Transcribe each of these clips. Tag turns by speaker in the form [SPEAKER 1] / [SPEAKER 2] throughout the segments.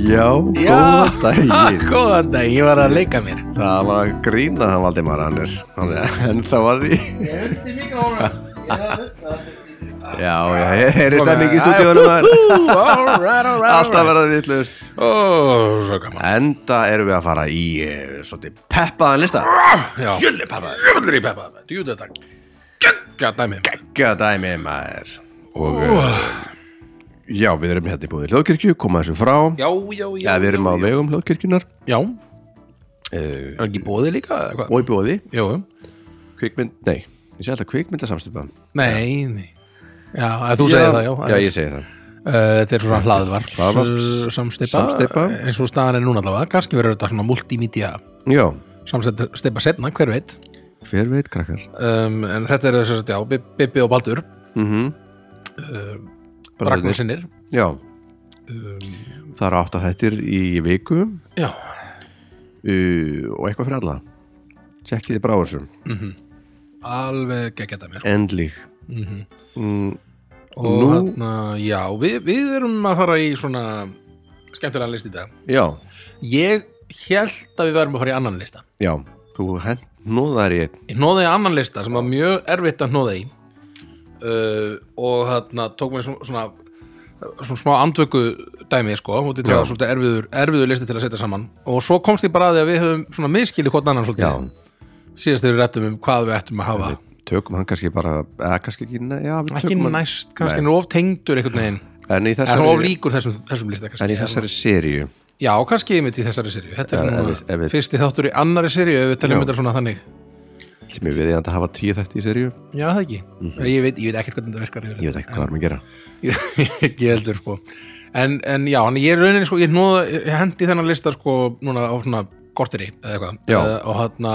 [SPEAKER 1] Já, góðan daginn
[SPEAKER 2] góðan dag, ég var að leika mér
[SPEAKER 1] Það var að grína það Valdimar hann er, hann er ennþá að því Já, já, heyrist það mikið í stúdíunum
[SPEAKER 2] all
[SPEAKER 1] maður
[SPEAKER 2] right, all right, all right.
[SPEAKER 1] Alltaf verða vittlust
[SPEAKER 2] Ó, svo gaman
[SPEAKER 1] Enda erum við að fara í eh, svolítið peppaðan lista
[SPEAKER 2] Já. Jölli peppa Jölli peppa Júta takk Gjögga dæmið
[SPEAKER 1] Gekkja dæmi maður Og uh, já, við erum hérna í búið hljóðkirkju, koma þessu frá
[SPEAKER 2] Já, já, já
[SPEAKER 1] Já, við erum á vegum hljóðkirkjunar
[SPEAKER 2] Já,
[SPEAKER 1] uh,
[SPEAKER 2] er ekki bóði líka eða hvað?
[SPEAKER 1] og í búiði
[SPEAKER 2] Jú,
[SPEAKER 1] kvikmynd, nei, ég sé alltaf kvikmyndasamstöpa
[SPEAKER 2] nei, nei Já, að þú segir það, já
[SPEAKER 1] Já, ég segi það
[SPEAKER 2] Uh, Þetta er svona hlaðvarp
[SPEAKER 1] Hlaðvarps-
[SPEAKER 2] samsteipa,
[SPEAKER 1] samsteypa.
[SPEAKER 2] eins og staðan er núna allavega kannski verður þetta svona multimedia
[SPEAKER 1] Já,
[SPEAKER 2] samsteipa setna, hver veit
[SPEAKER 1] hver veit krakkar
[SPEAKER 2] um, en þetta eru þess að, já, Bi- Bibbi og Baldur
[SPEAKER 1] mm -hmm.
[SPEAKER 2] Eh, Ragnarsinnir
[SPEAKER 1] Já
[SPEAKER 2] Um,
[SPEAKER 1] Það eru átt að þettir í viku
[SPEAKER 2] Já,
[SPEAKER 1] uh, og eitthvað fyrir alla Tjekkið þið bráður sem
[SPEAKER 2] alveg geggjað að mér
[SPEAKER 1] Endlík
[SPEAKER 2] og
[SPEAKER 1] Nú-
[SPEAKER 2] þarna, já, við, við erum að fara í svona skemmtilega list í dag
[SPEAKER 1] Já,
[SPEAKER 2] ég held að við verðum að fara í annan lista
[SPEAKER 1] já, þú hent nóðar í einn
[SPEAKER 2] ég hnóði í annan lista sem var mjög erfitt að hnóða í uh, og þarna tók mér svona, svona svona smá andvöku dæmi sko, og þetta
[SPEAKER 1] Já.
[SPEAKER 2] var svolítið erfiður, erfiður listi til að setja saman og svo komst ég bara að því að við höfum svona miskili hvort annan svolítið síðast þegar við rettum um hvað við ættum að hafa
[SPEAKER 1] Tökum hann kannski bara, eða kannski ekki ne- já, við
[SPEAKER 2] ekki
[SPEAKER 1] tökum hann-
[SPEAKER 2] næst, kannski hann er of tengdur einhvern veginn,
[SPEAKER 1] En í
[SPEAKER 2] en of
[SPEAKER 1] þessari,
[SPEAKER 2] líkur þessum, þessum lista
[SPEAKER 1] en
[SPEAKER 2] kannski
[SPEAKER 1] í þessari seríu
[SPEAKER 2] Já, kannski einmitt í þessari serju Þetta er
[SPEAKER 1] Ef-
[SPEAKER 2] núna
[SPEAKER 1] ef við- ef við-
[SPEAKER 2] fyrsti þáttur í annari serju ef við
[SPEAKER 1] Já.
[SPEAKER 2] talum þetta svona þannig
[SPEAKER 1] sem ég við ég að hafa tíu þetta í seríu
[SPEAKER 2] Já, það ekki
[SPEAKER 1] Mhm.
[SPEAKER 2] ég, veit, ég veit ekkert hvernig þetta virkar
[SPEAKER 1] Ég veit ekki hvað erum að gera
[SPEAKER 2] ekki Ekki heldur sko En, en já, en ég er raunin sko, ég, nóða, ég hendi þennan lista sko núna á svona korteri eða eitthvað
[SPEAKER 1] Já.
[SPEAKER 2] Eða- og hana,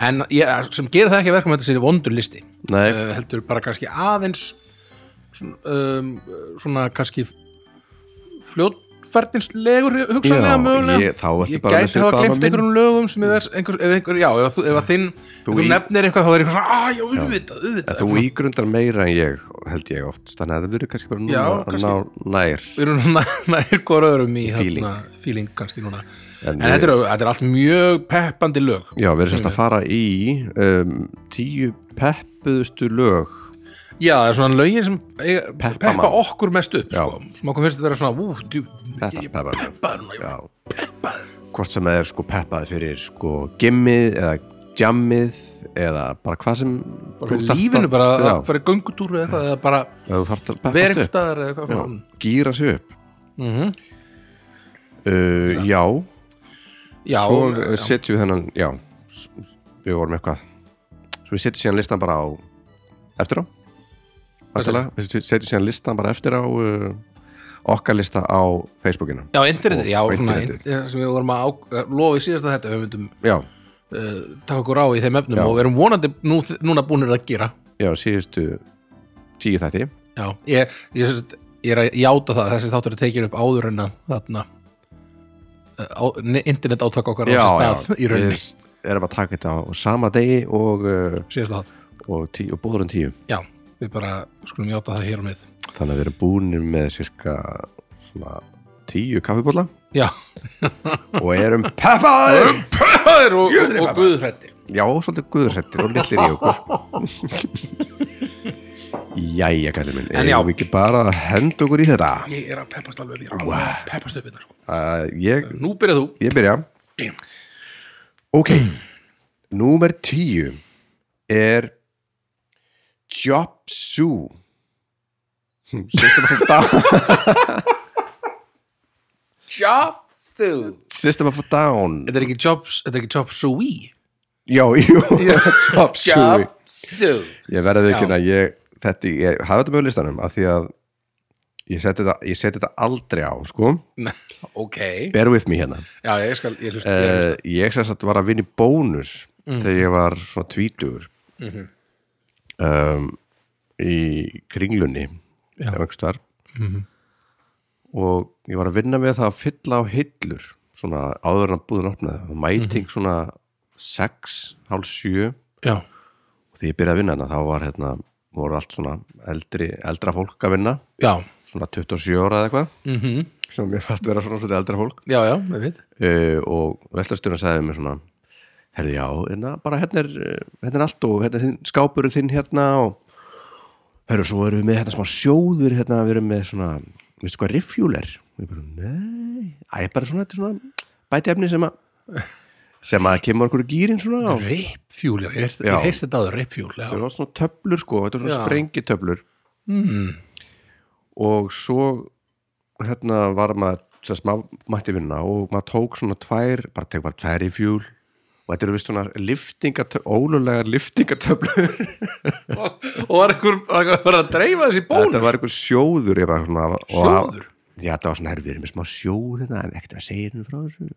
[SPEAKER 2] en ég, sem gerir það ekki að verka með þetta sér vondur listi
[SPEAKER 1] Nei,
[SPEAKER 2] uh, heldur bara kannski aðeins svona, um, svona kannski fljótferdinslegur hugsanlega
[SPEAKER 1] Já,
[SPEAKER 2] mögulega
[SPEAKER 1] ég- þá ertu
[SPEAKER 2] ég
[SPEAKER 1] bara með
[SPEAKER 2] gæti hafa
[SPEAKER 1] svipaða
[SPEAKER 2] glemt
[SPEAKER 1] minn.
[SPEAKER 2] einhverjum lögum sem ég verð einhver, ef einhver, já, ef þú, ef að þinn
[SPEAKER 1] Þú
[SPEAKER 2] þú, þú
[SPEAKER 1] í-
[SPEAKER 2] nefnir eitthvað þá er eitthvað svona, ah, já, auðvitað,
[SPEAKER 1] En
[SPEAKER 2] auðvitað
[SPEAKER 1] þú
[SPEAKER 2] svona,
[SPEAKER 1] ígrundar meira en ég, held ég oft Þannig að það verður kannski bara núna
[SPEAKER 2] Já,
[SPEAKER 1] að
[SPEAKER 2] kannski.
[SPEAKER 1] ná nær
[SPEAKER 2] við erum svona nær hvora öðrum í
[SPEAKER 1] feeling.
[SPEAKER 2] þarna feeling kannski núna
[SPEAKER 1] En
[SPEAKER 2] en
[SPEAKER 1] ég-
[SPEAKER 2] þetta er, þetta er allt mjög peppandi lög
[SPEAKER 1] Já, við erum sérst að
[SPEAKER 2] Mm.
[SPEAKER 1] fara í um, tíu peppuðustu lög
[SPEAKER 2] já, það er svona lögin sem eiga-
[SPEAKER 1] Peppa
[SPEAKER 2] peppa
[SPEAKER 1] mann.
[SPEAKER 2] okkur mest upp sko. sem okkur finnst að vera svona, ú, djú,
[SPEAKER 1] Þetta
[SPEAKER 2] ég
[SPEAKER 1] peppar mig.
[SPEAKER 2] peppaður núna, ég
[SPEAKER 1] Já,
[SPEAKER 2] peppaður
[SPEAKER 1] hvort sem það er sko peppaði fyrir sko gimmið eða jammið eða bara hvað sem
[SPEAKER 2] bara í lífinu bara
[SPEAKER 1] já,
[SPEAKER 2] að fara í göngutúru eða eitthvað eða bara
[SPEAKER 1] ef þú þarft að peppast
[SPEAKER 2] vera einhver
[SPEAKER 1] upp
[SPEAKER 2] staðar eða eitthvað
[SPEAKER 1] já,
[SPEAKER 2] svona.
[SPEAKER 1] gýra sig upp
[SPEAKER 2] Mhm.
[SPEAKER 1] uh, já,
[SPEAKER 2] já,
[SPEAKER 1] svo eh,
[SPEAKER 2] já,
[SPEAKER 1] setjum við þennan já, s- við vorum eitthvað svo við setjum síðan listan bara á eftir á Ætlalega, við setjum síðan listan bara eftir á uh, okkar lista á Facebookinu
[SPEAKER 2] já, internetið, já,
[SPEAKER 1] Og- og
[SPEAKER 2] svona
[SPEAKER 1] internetið.
[SPEAKER 2] in- sem við vorum að á, eh, lofa í síðasta þetta við myndum
[SPEAKER 1] já,
[SPEAKER 2] uh, taka okkur á í þeim efnum
[SPEAKER 1] Já.
[SPEAKER 2] og við erum vonandi nú, núna búinir að gera
[SPEAKER 1] já, síðustu tíu þætti
[SPEAKER 2] já, ég, ég, sem sagt- ég er að játa það að þessi þáttur er tekið upp áður en að þarna eh, á, ne- internet átaka okkar á þessi stað í rauninni
[SPEAKER 1] Við erum að taka þetta á sama degi og, uh,
[SPEAKER 2] síðasta þátt,
[SPEAKER 1] og, tí, og búður en tíu
[SPEAKER 2] já, við bara skulum játa það hér og mið
[SPEAKER 1] þannig að við erum búinir með cirka svona tíu kaffibólla
[SPEAKER 2] já,
[SPEAKER 1] og erum peppaðir
[SPEAKER 2] peppaður og, og, og guðhrættir
[SPEAKER 1] já, svolítið guðursettir og lillir í okkur jæja, kallið minn
[SPEAKER 2] En já.
[SPEAKER 1] eigum við ekki bara að henda okkur í þetta
[SPEAKER 2] ég er að peppast alveg, ég er alveg að peppast upp hérna sko.
[SPEAKER 1] uh, ég,
[SPEAKER 2] Nú byrjað þú
[SPEAKER 1] ég byrja
[SPEAKER 2] Damn.
[SPEAKER 1] ok
[SPEAKER 2] Mm.
[SPEAKER 1] númer tíu er Chop Sue System of a Down
[SPEAKER 2] Chop Sue
[SPEAKER 1] System of a Down
[SPEAKER 2] Þetta er ekki Chop, þetta er ekki Chop Suey
[SPEAKER 1] Já, jú, Chop Sue
[SPEAKER 2] Sue
[SPEAKER 1] Ég verði ekki
[SPEAKER 2] Já.
[SPEAKER 1] að ég þetta, ég hafa þetta með á listanum af því að ég seti þetta, ég seti þetta aldrei á, sko
[SPEAKER 2] Ok
[SPEAKER 1] Bear with me hérna
[SPEAKER 2] Já, ég skal, ég hlust
[SPEAKER 1] uh, Ég sem sagt var að vinna í bónus
[SPEAKER 2] Mhm.
[SPEAKER 1] þegar ég var svona tvítugur um, í kringlunni
[SPEAKER 2] Já. Mhm.
[SPEAKER 1] einhverstaðar mm og ég var að vinna með það að fylla á hillur svona áður en að búðin opnaði
[SPEAKER 2] Mhm.
[SPEAKER 1] og mæting svona 6, hálf 7
[SPEAKER 2] Já,
[SPEAKER 1] og þegar ég byrjaði að vinna þarna þá var hérna voru allt svona eldri, eldra fólk að vinna
[SPEAKER 2] já,
[SPEAKER 1] svona 27 ára eða eitthvað
[SPEAKER 2] mhm,
[SPEAKER 1] sem mér fast vera svona svona eldra fólk
[SPEAKER 2] já, já, við veit
[SPEAKER 1] uh, og vestlastjóðan sagði mér svona herði já, hérna, bara hérna er, eh, hérna er allt og hérna er þinn, skápurinn þinn hérna og herru, svo erum við með hérna smá sjóður hérna, við erum með svona, veistu hvað rifjúl er og ég bara, nei, að ég bara svona, þetta er svona bætefni sem að sem að kemur okkur í gýrin svona og
[SPEAKER 2] Ripfjúl, já, ég heyrti-
[SPEAKER 1] Já.
[SPEAKER 2] ég heyrti þetta áður, ripfjúl, já
[SPEAKER 1] það var svona töflur sko, þetta var svona
[SPEAKER 2] Já.
[SPEAKER 1] sprengitöflur
[SPEAKER 2] mm,
[SPEAKER 1] og svo hérna var maður þess maður mætti vinna og maður tók svona tvær, bara tek bara tvær í fjúl og þetta eru vist svona liftingatöflur, ólulegar liftingatöflur
[SPEAKER 2] og, og var einhver var einhver að fara að dreifa þessi
[SPEAKER 1] þetta
[SPEAKER 2] bónus
[SPEAKER 1] var einhver sjóður ég bara svona og-
[SPEAKER 2] Sjóður?
[SPEAKER 1] Já, þetta var svona herfið með smá sjóð hérna, en ekkert að segja hérna frá þessu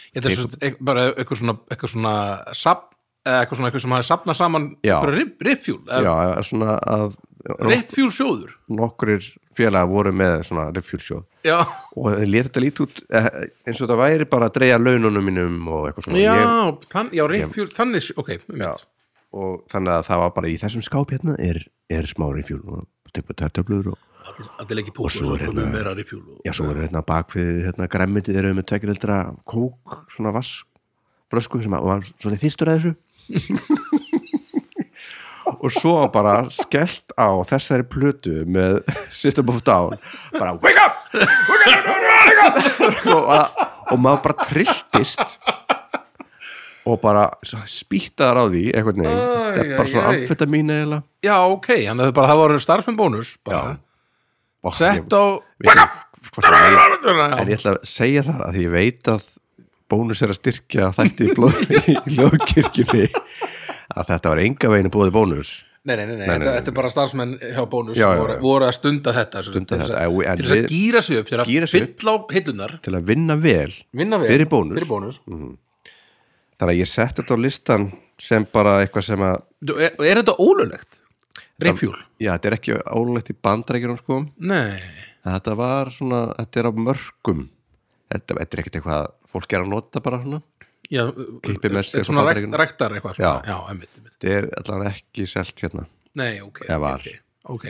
[SPEAKER 2] Þetta er svo, ek, bara eitthvað svona eitthvað svona sap, eitthvað svona eitthvað sem hafi sapnað saman
[SPEAKER 1] Já.
[SPEAKER 2] ripfjúl,
[SPEAKER 1] Já, svona að
[SPEAKER 2] ripfjúl sjóður
[SPEAKER 1] nokkurir félaga voru með svona rifjúlsjóð
[SPEAKER 2] Já,
[SPEAKER 1] og þeir leta þetta lítið út eh, eins og þetta væri bara að dreigja laununum mínum og eitthvað svona
[SPEAKER 2] já,
[SPEAKER 1] Ég-
[SPEAKER 2] þann, já ripfjúl, þannig, ok um já.
[SPEAKER 1] og þannig að það var bara í þessum skáp hérna er, er smá rifjúl og tekur tvær töflur og
[SPEAKER 2] Allir leikir púl og
[SPEAKER 1] svo
[SPEAKER 2] svo
[SPEAKER 1] er
[SPEAKER 2] komum
[SPEAKER 1] hérna-
[SPEAKER 2] meira ripfjúl og-
[SPEAKER 1] já, svo er hérna bakfið hérna græmmitið eru með tvekkileldra kók, svona vask brösku sem að, var svolítið þýstur að þessu og svo bara skellt á þessari plötu með System of a Down bara wake up, wake up, wake up, wake up! og, að, og maður bara trilltist og bara spýttaðar á því einhvern veginn,
[SPEAKER 2] Æ,
[SPEAKER 1] þetta er bara svona
[SPEAKER 2] æ, æ.
[SPEAKER 1] amfetta mín eiginlega
[SPEAKER 2] Já, ok, þannig að það bara það voru starfsmenn bónus bara,
[SPEAKER 1] Og
[SPEAKER 2] sett á
[SPEAKER 1] ég, ég, hvort það er-
[SPEAKER 2] Já,
[SPEAKER 1] en ég ætla að segja það að því ég veit að bónus er að styrkja þætti í blóð í lögkirkjunni að þetta var enga veginn búið bónus
[SPEAKER 2] Nei, nei, nei, nei,
[SPEAKER 1] nei,
[SPEAKER 2] þetta,
[SPEAKER 1] nei.
[SPEAKER 2] þetta er bara starfsmenn hjá bónus
[SPEAKER 1] Já,
[SPEAKER 2] sem
[SPEAKER 1] já,
[SPEAKER 2] voru,
[SPEAKER 1] já.
[SPEAKER 2] voru að stunda þetta sem-
[SPEAKER 1] Stunda
[SPEAKER 2] til þess
[SPEAKER 1] þetta,
[SPEAKER 2] að-
[SPEAKER 1] já, en
[SPEAKER 2] til þess að
[SPEAKER 1] við-
[SPEAKER 2] gíra sig upp, til
[SPEAKER 1] Gíra
[SPEAKER 2] að
[SPEAKER 1] sig upp.
[SPEAKER 2] fylla á hillunar
[SPEAKER 1] til að vinna vel
[SPEAKER 2] vinna við
[SPEAKER 1] Fyrir Bónus. Mm.
[SPEAKER 2] fyrir bónus.
[SPEAKER 1] þannig að ég setti þetta á listan sem bara eitthvað sem að
[SPEAKER 2] Þú, Er, og er þetta ólulegt? Reifjúl?
[SPEAKER 1] já, þetta er ekki ólegt í bandrækjunum sko
[SPEAKER 2] Nei,
[SPEAKER 1] en þetta var svona, þetta er á mörgum þetta, þetta er ekkert eitthvað að fólk er að nota bara svona
[SPEAKER 2] já,
[SPEAKER 1] Klippið með sér
[SPEAKER 2] er svona
[SPEAKER 1] frá
[SPEAKER 2] rækt,
[SPEAKER 1] Bandaríkjunum.
[SPEAKER 2] ræktar eitthvað svona.
[SPEAKER 1] Já.
[SPEAKER 2] já, einmitt, einmitt.
[SPEAKER 1] þetta er allavega ekki selt hérna
[SPEAKER 2] Nei, ok,
[SPEAKER 1] Eða var.
[SPEAKER 2] ok, ok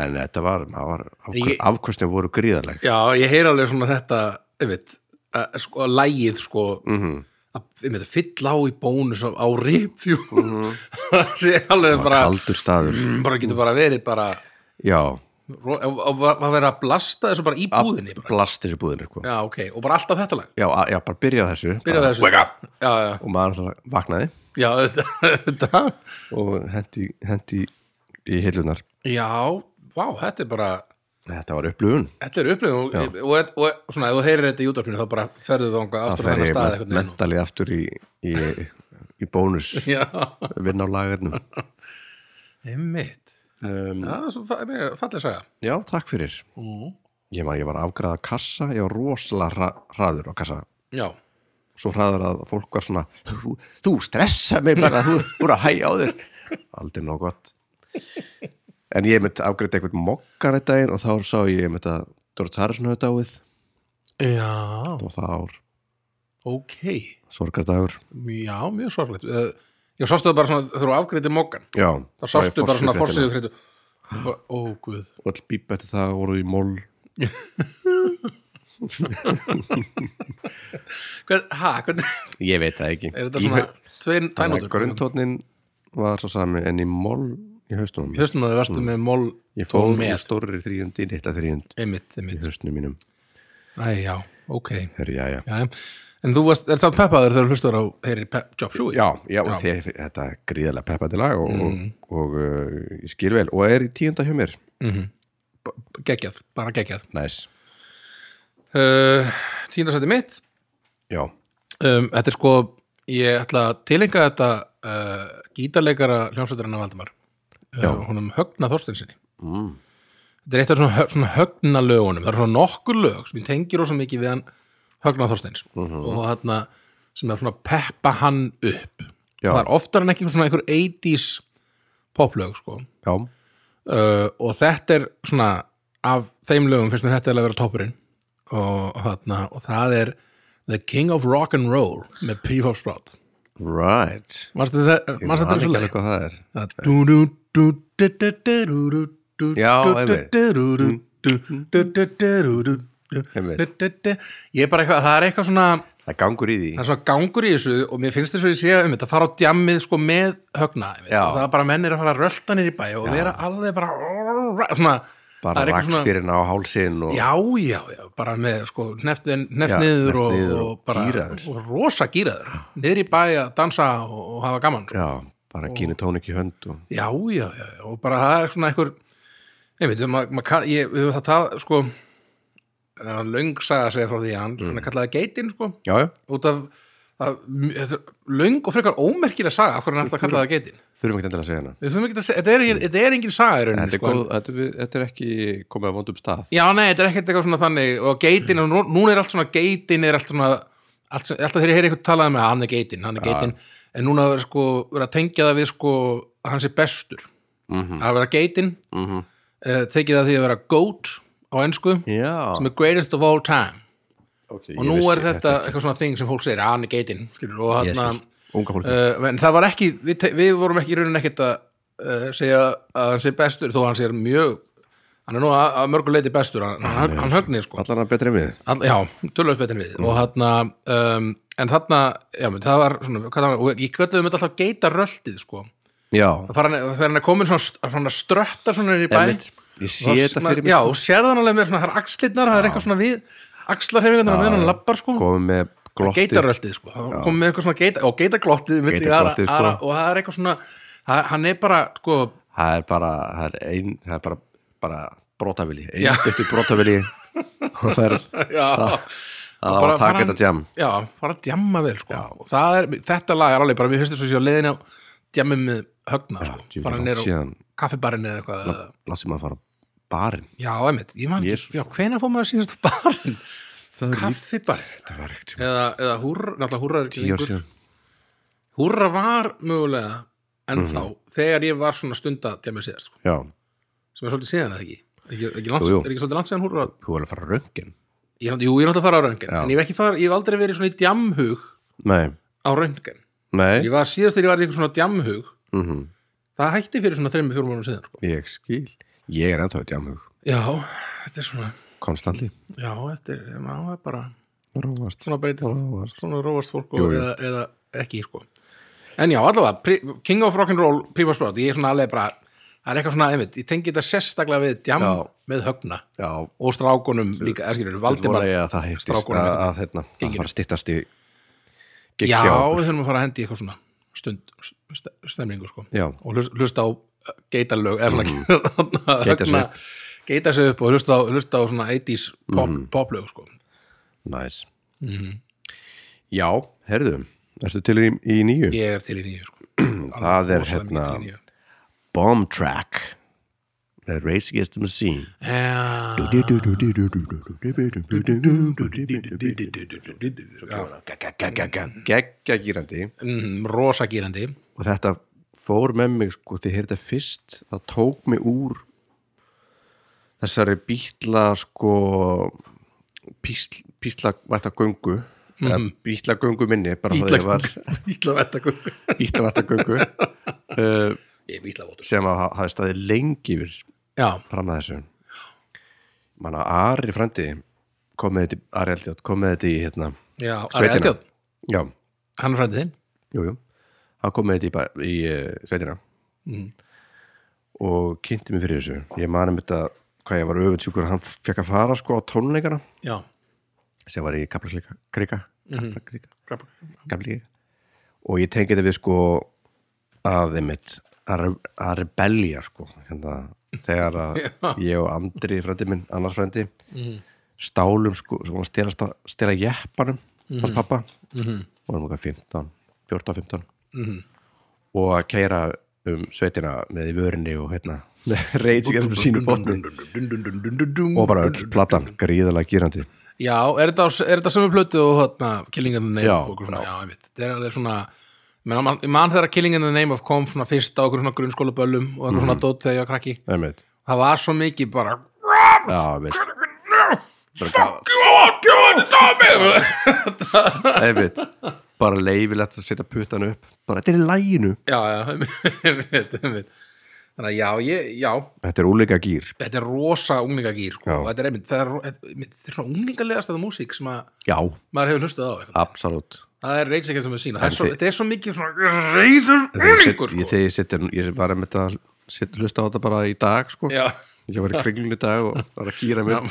[SPEAKER 1] en þetta var, maður var afkvö,
[SPEAKER 2] Ég-
[SPEAKER 1] afkvöstin voru gríðaleg
[SPEAKER 2] Já, ég heyr alveg svona þetta einmitt, að, sko, að lægið sko,
[SPEAKER 1] Mhm.
[SPEAKER 2] að, einmitt, að fylla á í bónus á, á ripfjúl það sé alveg bara
[SPEAKER 1] Mhm. kaldur staður
[SPEAKER 2] mm, bara getur bara verið bara
[SPEAKER 1] já,
[SPEAKER 2] ro- og- og var var verið að blasta þessu bara í búðinni bara.
[SPEAKER 1] blast þessu búðinni sko.
[SPEAKER 2] Já, ok, og bara alltaf þetta lag
[SPEAKER 1] já, a- já, bara byrja á þessu
[SPEAKER 2] Byrja
[SPEAKER 1] bara,
[SPEAKER 2] þessu Wake up! Já, já,
[SPEAKER 1] og maður alltaf vaknaði
[SPEAKER 2] já, þetta, þetta
[SPEAKER 1] og hendi, hendi í hillunar
[SPEAKER 2] Já, vá, þetta er bara
[SPEAKER 1] þetta var upplöfun
[SPEAKER 2] Þetta er upplifun og, og, og, og svona, ef þú heyrir þetta í útarpinu þá bara ferðu þangað
[SPEAKER 1] það
[SPEAKER 2] aftur á
[SPEAKER 1] fær
[SPEAKER 2] hennar
[SPEAKER 1] ég
[SPEAKER 2] stað
[SPEAKER 1] men-
[SPEAKER 2] einhvern veginn og-
[SPEAKER 1] mentali aftur í, í, í bónus
[SPEAKER 2] Já,
[SPEAKER 1] vinna á lagarnum
[SPEAKER 2] einmitt
[SPEAKER 1] um,
[SPEAKER 2] Já, svo fa- mér- falleg saga
[SPEAKER 1] já, takk fyrir
[SPEAKER 2] Mm.
[SPEAKER 1] ég, man, ég var afgræða kassa, ég var rosalega ra hraður á kassa
[SPEAKER 2] Já,
[SPEAKER 1] svo hraður að fólk var svona þú, þú stressa mig bara, þú þú er að hæja á þér aldrei nóg gott en ég mitt afgreitt einhvern mokkar þetta einn og þá sá ég mitt að Dóra Tarasson höfði dáið
[SPEAKER 2] já,
[SPEAKER 1] og það ár,
[SPEAKER 2] ok
[SPEAKER 1] sorgardagur
[SPEAKER 2] Já, mjög sorglegt Eh, Já, sástu það bara svona, þegar þú afgreiti mokkan
[SPEAKER 1] já,
[SPEAKER 2] þá sástu bara svona
[SPEAKER 1] forsíðufréttina.
[SPEAKER 2] forsíðu fréttu Ó, guð
[SPEAKER 1] og all bíp eftir það voru í mól
[SPEAKER 2] Hvern, ha, hvernig,
[SPEAKER 1] ég veit það ekki
[SPEAKER 2] er þetta svona tveir tænótur?
[SPEAKER 1] grunntótnin var svo sami en í mól í haustunum
[SPEAKER 2] Hjöstum að þið verstu með mól
[SPEAKER 1] Mm. ég fór
[SPEAKER 2] með.
[SPEAKER 1] með stórri þrýjund í litla þrýjund
[SPEAKER 2] einmitt,
[SPEAKER 1] í
[SPEAKER 2] einmitt.
[SPEAKER 1] haustunum mínum
[SPEAKER 2] Æ, já, ok.
[SPEAKER 1] Heru, já, já.
[SPEAKER 2] Já, en þú varst, er það peppaður þegar þú hlustur á heyri pep, Job Shui?
[SPEAKER 1] Já, já, og þeir, þetta er gríðarlega peppandi lag og,
[SPEAKER 2] Mm.
[SPEAKER 1] og, og uh, ég skil vel og er í tíunda hjá mér
[SPEAKER 2] Geggjað, bara geggjað.
[SPEAKER 1] Næs,
[SPEAKER 2] Uh, Tíndasætti mitt,
[SPEAKER 1] já,
[SPEAKER 2] um, þetta er sko, ég ætla að tilenga þetta uh, gítarleikara hljómsveitarinn af Valdimar.
[SPEAKER 1] Já.
[SPEAKER 2] Uh, honum Högna Þorstinsinni.
[SPEAKER 1] mm.
[SPEAKER 2] Þetta er eitt af svona, hö- svona högna lögunum það er svona nokkur lög sem ég tengi rosa mikið við hann högna Þorsteins
[SPEAKER 1] Mhm.
[SPEAKER 2] og þarna sem er svona peppa hann upp
[SPEAKER 1] Já.
[SPEAKER 2] það er oftar en ekki svona einhver 80s poplög sko
[SPEAKER 1] já,
[SPEAKER 2] uh, og þetta er svona af þeim lögum finnst mér þetta eiginlega að vera toppurinn og, þarna, og það er The King of Rock and Roll með P-Pop Sprout
[SPEAKER 1] right
[SPEAKER 2] Manstu þetta
[SPEAKER 1] Ég man
[SPEAKER 2] er svo
[SPEAKER 1] ekki
[SPEAKER 2] leið
[SPEAKER 1] alveg hvað það er
[SPEAKER 2] Það er dú, dú, Já, Ég er bara eitthvað, það er eitthvað svona
[SPEAKER 1] það er gangur í því
[SPEAKER 2] það er svona gangur í þessu og mér finnst þess að ég sé um þetta fara á djammið sko með högna einmitt,
[SPEAKER 1] Já.
[SPEAKER 2] og það er bara mennir að fara að rölda nýr í bæ og vera alveg bara svona, það
[SPEAKER 1] bara
[SPEAKER 2] er eitthvað svona
[SPEAKER 1] rakspyrina á hálsin og
[SPEAKER 2] Já, já, já, bara með sko neft, neft
[SPEAKER 1] Já,
[SPEAKER 2] niður,
[SPEAKER 1] hneppt
[SPEAKER 2] og,
[SPEAKER 1] niður
[SPEAKER 2] og,
[SPEAKER 1] og
[SPEAKER 2] bara
[SPEAKER 1] gíraður.
[SPEAKER 2] og rosa gýraður, niður í bæ að dansa og, og hafa gaman sko.
[SPEAKER 1] já, bara gínu tónik í hönd og
[SPEAKER 2] já, já, já, já, og bara það er svona einhver ég veit, ma, ma, ég, ég, það, það sko það er löng saga að segja frá því að hann,
[SPEAKER 1] Mm.
[SPEAKER 2] hann kallaði geitin sko
[SPEAKER 1] já, já,
[SPEAKER 2] út af að, þetta er löng og frekar ómerkilega saga af hvernig hann alltaf kallaði það geitin
[SPEAKER 1] þurfum ekki endilega að segja hana
[SPEAKER 2] Við þurfum ekki að segja- þetta er, engin- þetta er engin saga í rauninni
[SPEAKER 1] þetta er,
[SPEAKER 2] sko.
[SPEAKER 1] góð, þetta, er- þetta er ekki komið að vondum stað
[SPEAKER 2] já nei, þetta er ekkert eitthvað svona þannig og geitin, nú, núna er allt svona geitin er allt svona, allt, sem- alltaf þegar ég heyri eitthvað talað með hann er geitin, hann er geitin en núna er sko, verið að tengja það við sko að hann sé bestur,
[SPEAKER 1] mm -hmm.
[SPEAKER 2] að vera geitin uh, tekið það því að vera goat á ennsku,
[SPEAKER 1] Mhm. já,
[SPEAKER 2] sem er greatest of all time
[SPEAKER 1] okay,
[SPEAKER 2] og nú er þetta eitthvað svona þing sem fólk segir, að hann er geitin skilur, og hann
[SPEAKER 1] unga fólk
[SPEAKER 2] uh, en það var ekki við, te- við vorum ekki í raunin ekkert að uh, segja að hann sé bestur þó að hann sé mjög hann er nú að, að mörgu leiti bestur hann, hann, hann högnir sko
[SPEAKER 1] allan að betri en við
[SPEAKER 2] All, já, tölvöld betur en við og þarna, um, en þarna já, menn, það var svona, hvað það var, og ég kölluðum þetta alltaf geita röltið sko
[SPEAKER 1] já,
[SPEAKER 2] Það fara hann, þegar hann er komin svona, st- svona ströttar svona niður í bæ
[SPEAKER 1] Einmitt. ég sé
[SPEAKER 2] þá
[SPEAKER 1] þetta
[SPEAKER 2] svona-
[SPEAKER 1] fyrir sko. mig
[SPEAKER 2] já, og sér það alveg með svona, það er axlirnar, það er eitthvað svona við axlarhefingarnar á meðan hann lappar sko
[SPEAKER 1] komið með glottið
[SPEAKER 2] geitaröltið sko, það kom með eitthvað svona geita, og geitaglottið, mitt í aðra-
[SPEAKER 1] Geitaglottið, sko.
[SPEAKER 2] aðra- og það er eitthvað svona það, hann er bara, sko,
[SPEAKER 1] það er bara það er, ein, það er bara, bara brotavili
[SPEAKER 2] Já.
[SPEAKER 1] einbyttu brotavili og það er
[SPEAKER 2] já
[SPEAKER 1] það
[SPEAKER 2] bara
[SPEAKER 1] var að taka
[SPEAKER 2] fara-
[SPEAKER 1] þetta jam
[SPEAKER 2] já, fara að djamma vel sko, og það er, þetta lag er alveg bara, mér finnst þess að sé á leiðin á djammið með högna, sko,
[SPEAKER 1] Djú,
[SPEAKER 2] bara
[SPEAKER 1] langt
[SPEAKER 2] neyra á
[SPEAKER 1] síðan
[SPEAKER 2] kaffibarinn eða eitthvað, eða-
[SPEAKER 1] lásið maður að fara á barinn
[SPEAKER 2] já, emitt, ég man
[SPEAKER 1] Jesus.
[SPEAKER 2] ekki, já, hvenær fór maður síðast á barinn,
[SPEAKER 1] Það er
[SPEAKER 2] kaffibarinn
[SPEAKER 1] þetta var ekkert
[SPEAKER 2] eða, eða húrra, náttúrulega húrra er ekki
[SPEAKER 1] tíu ár
[SPEAKER 2] lengur.
[SPEAKER 1] síðan
[SPEAKER 2] húrra var mögulega ennþá,
[SPEAKER 1] Mhm.
[SPEAKER 2] þegar ég var svona stund að djammið síðast, sko
[SPEAKER 1] já,
[SPEAKER 2] sem er svolítið síðan eða ekki ekki, ekki langt,
[SPEAKER 1] Jú, jú.
[SPEAKER 2] er ekki svolítið langt síðan húrra
[SPEAKER 1] þú er að fara röngin
[SPEAKER 2] ég, er náttúrulega- jú, ég er náttúrulega að fara á röngan
[SPEAKER 1] Já.
[SPEAKER 2] en ég hef, ekki fara, ég hef aldrei verið svona í djamhug
[SPEAKER 1] nei,
[SPEAKER 2] á röngan
[SPEAKER 1] nei
[SPEAKER 2] ég var síðast þegar ég var í eitthvað svona djamhug
[SPEAKER 1] mm
[SPEAKER 2] það hætti fyrir svona 3-4 mánu síðan sko.
[SPEAKER 1] ég skil ég er ennþá í jamhug
[SPEAKER 2] já, þetta er svona
[SPEAKER 1] konstantli
[SPEAKER 2] já, þetta er, já, það er bara
[SPEAKER 1] róast
[SPEAKER 2] svona breytist,
[SPEAKER 1] róast
[SPEAKER 2] svona róast fólk og,
[SPEAKER 1] Jú, jú.
[SPEAKER 2] Eða, eða ekki sko. en já, allavega, pri, King of Rock'n'Roll Pípa Sprátt, ég er svona alveg bara það er eitthvað svona, einmitt, ég tengi þetta sérstaklega við djam
[SPEAKER 1] Já.
[SPEAKER 2] með högna
[SPEAKER 1] já,
[SPEAKER 2] og strákunum líka, eða skilur, Valdimar
[SPEAKER 1] vona ég að það heitist að,
[SPEAKER 2] strákunum
[SPEAKER 1] að,
[SPEAKER 2] hérna.
[SPEAKER 1] að hérna, það
[SPEAKER 2] Genginu.
[SPEAKER 1] fara að styttast í gigg
[SPEAKER 2] Já,
[SPEAKER 1] hjá okkur.
[SPEAKER 2] við þurfum að fara að hendi í eitthvað svona stund, st- stemningu sko
[SPEAKER 1] já,
[SPEAKER 2] og hlust- hlusta á uh, geitalög eða
[SPEAKER 1] Mhm.
[SPEAKER 2] svona
[SPEAKER 1] Geita sig
[SPEAKER 2] högna- geita sig upp og hlusta á, hlusta á svona 80s pop,
[SPEAKER 1] Mhm.
[SPEAKER 2] poplög sko
[SPEAKER 1] næs Mhm. já, herðu erstu til í, í nýju?
[SPEAKER 2] ég er til í nýju sko
[SPEAKER 1] það er
[SPEAKER 2] Rosalega
[SPEAKER 1] hérna
[SPEAKER 2] mikið til í nýju.
[SPEAKER 1] Bomb Track The Race Against the Machine
[SPEAKER 2] Já.
[SPEAKER 1] Geggja gírandi
[SPEAKER 2] Mm, rosa gýrandi
[SPEAKER 1] og þetta fór með mig sko því heyrði þetta fyrst það tók mig úr þessari bítla sko písl, písla vætta göngu mm. bítla göngu minni bara það ég var
[SPEAKER 2] Ítla vettakur
[SPEAKER 1] bítla vætta göngu uh,
[SPEAKER 2] Ég er ítla votur
[SPEAKER 1] sem að ha- hafi staðið lengi yfir
[SPEAKER 2] Já,
[SPEAKER 1] fram að þessu manna Ari frændi kom með þetta í- Ari Eldjátt kom með þetta í hérna
[SPEAKER 2] já, Ari
[SPEAKER 1] Sveitina.
[SPEAKER 2] Eldjátt,
[SPEAKER 1] já,
[SPEAKER 2] hann er frændið þinn
[SPEAKER 1] jú, jú hann kom með þetta í, bæ- í uh, sveitina
[SPEAKER 2] Mm.
[SPEAKER 1] og kynnti mig fyrir þessu ég manum þetta hvað ég var öfundsjúkur hann fekk að fara sko á tónleikana
[SPEAKER 2] Já,
[SPEAKER 1] sem var í Kaplakrika Krika, Kaplakrika,
[SPEAKER 2] Krabba.
[SPEAKER 1] Kaplakrika og ég tengi þetta við sko að þeim mitt að, re- að rebellja sko hérna, þegar að ég og Andri frændi minn, annars frændi stálum sko, sko stela, stá- stela jeppanum hans pappa og hann okkar 15, 14-15 og að keira um sveitina með í vörinni og hérna reytingar sem sínu bóttum og bara öll platan gríðalega gírandi
[SPEAKER 2] Já, er þetta, á- er þetta sömu plötu og hátna, Killing in the Name
[SPEAKER 1] Já,
[SPEAKER 2] of okkur svona, já, einmitt það er alveg svona menn, man, man þegar Killing in the Name of kom svona fyrst á okkur svona grunnskólaböllum og eitthvað
[SPEAKER 1] Mhm.
[SPEAKER 2] svona dót þegar ég var krakki
[SPEAKER 1] einmitt
[SPEAKER 2] það var svo mikið bara
[SPEAKER 1] Já, einmitt Oh, einmitt bara leifilegt að setja puttan upp bara þetta er í læginu
[SPEAKER 2] Já, já, einmitt, einmitt þannig að já, ég, já
[SPEAKER 1] Þetta er úleika gýr.
[SPEAKER 2] þetta er rosa unglingagýr sko.
[SPEAKER 1] Já.
[SPEAKER 2] og þetta er einmitt, það er, ro- þetta- einmitt, þetta er svona unglingalegast að músík sem að
[SPEAKER 1] Já,
[SPEAKER 2] maður hefur hlustað á eitthvað.
[SPEAKER 1] absolutt.
[SPEAKER 2] það er reynsækja sem við sína, það er
[SPEAKER 1] En
[SPEAKER 2] svo,
[SPEAKER 1] þið-
[SPEAKER 2] þetta er svo mikið svona reyður unglingur
[SPEAKER 1] Ég,
[SPEAKER 2] sko.
[SPEAKER 1] þegar ég, situr, ég var einmitt að sit, hlusta á þetta bara í dag, sko.
[SPEAKER 2] já,
[SPEAKER 1] Ég var í kringlunni í dag og var að gýra
[SPEAKER 2] já,
[SPEAKER 1] mér,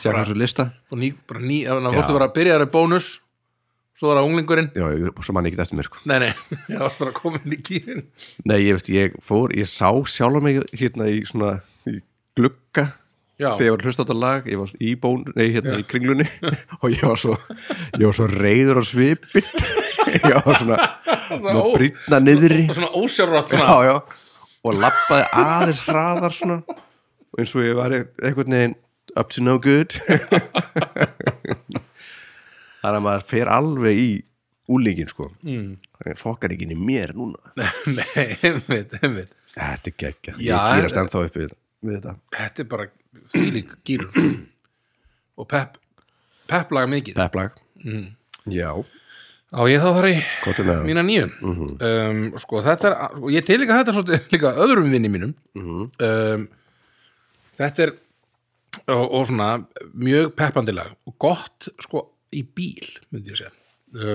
[SPEAKER 1] sjá hvað svo lista.
[SPEAKER 2] og ný, bara ný, þannig að
[SPEAKER 1] Já.
[SPEAKER 2] fórstu bara að byrja þar í bónus svo var það unglingurinn
[SPEAKER 1] Já, ég, svo mann ekki eftir mér, sko.
[SPEAKER 2] nei, nei, það var bara komin í gýrin
[SPEAKER 1] Nei, ég veist, ég fór, ég sá sjálf mig hérna í svona, í glugga
[SPEAKER 2] já,
[SPEAKER 1] þegar ég var að hlusta á þetta lag, ég var í bón, nei, hérna í kringlunni og ég var svo, ég var svo reyður á svipin. ég var svona,
[SPEAKER 2] var
[SPEAKER 1] með
[SPEAKER 2] ó-
[SPEAKER 1] brýtna niðri.
[SPEAKER 2] svona ósjárvart svona,
[SPEAKER 1] já, já, og lappaði aðeins hraðar svona og eins og ég var einhvern veginn up to no good þannig að maður fer alveg í úlíkin sko mm. fokkar ekki inn í mér núna
[SPEAKER 2] nei, einmitt, einmitt
[SPEAKER 1] þetta er geggja,
[SPEAKER 2] Já, eh,
[SPEAKER 1] ég gýrast ennþá upp við, við þetta
[SPEAKER 2] þetta er bara þýlík gýrun sko. og pep pep laga mikið
[SPEAKER 1] pepplag
[SPEAKER 2] Mm.
[SPEAKER 1] já,
[SPEAKER 2] á ég þá þar í
[SPEAKER 1] gott um það
[SPEAKER 2] mína nýjun um, sko þetta er, og ég til líka þetta svolítið líka öðrum vinni mínum
[SPEAKER 1] Mhm.
[SPEAKER 2] um, þetta er og, og svona mjög peppandi lag og gott sko í bíl myndi ég segja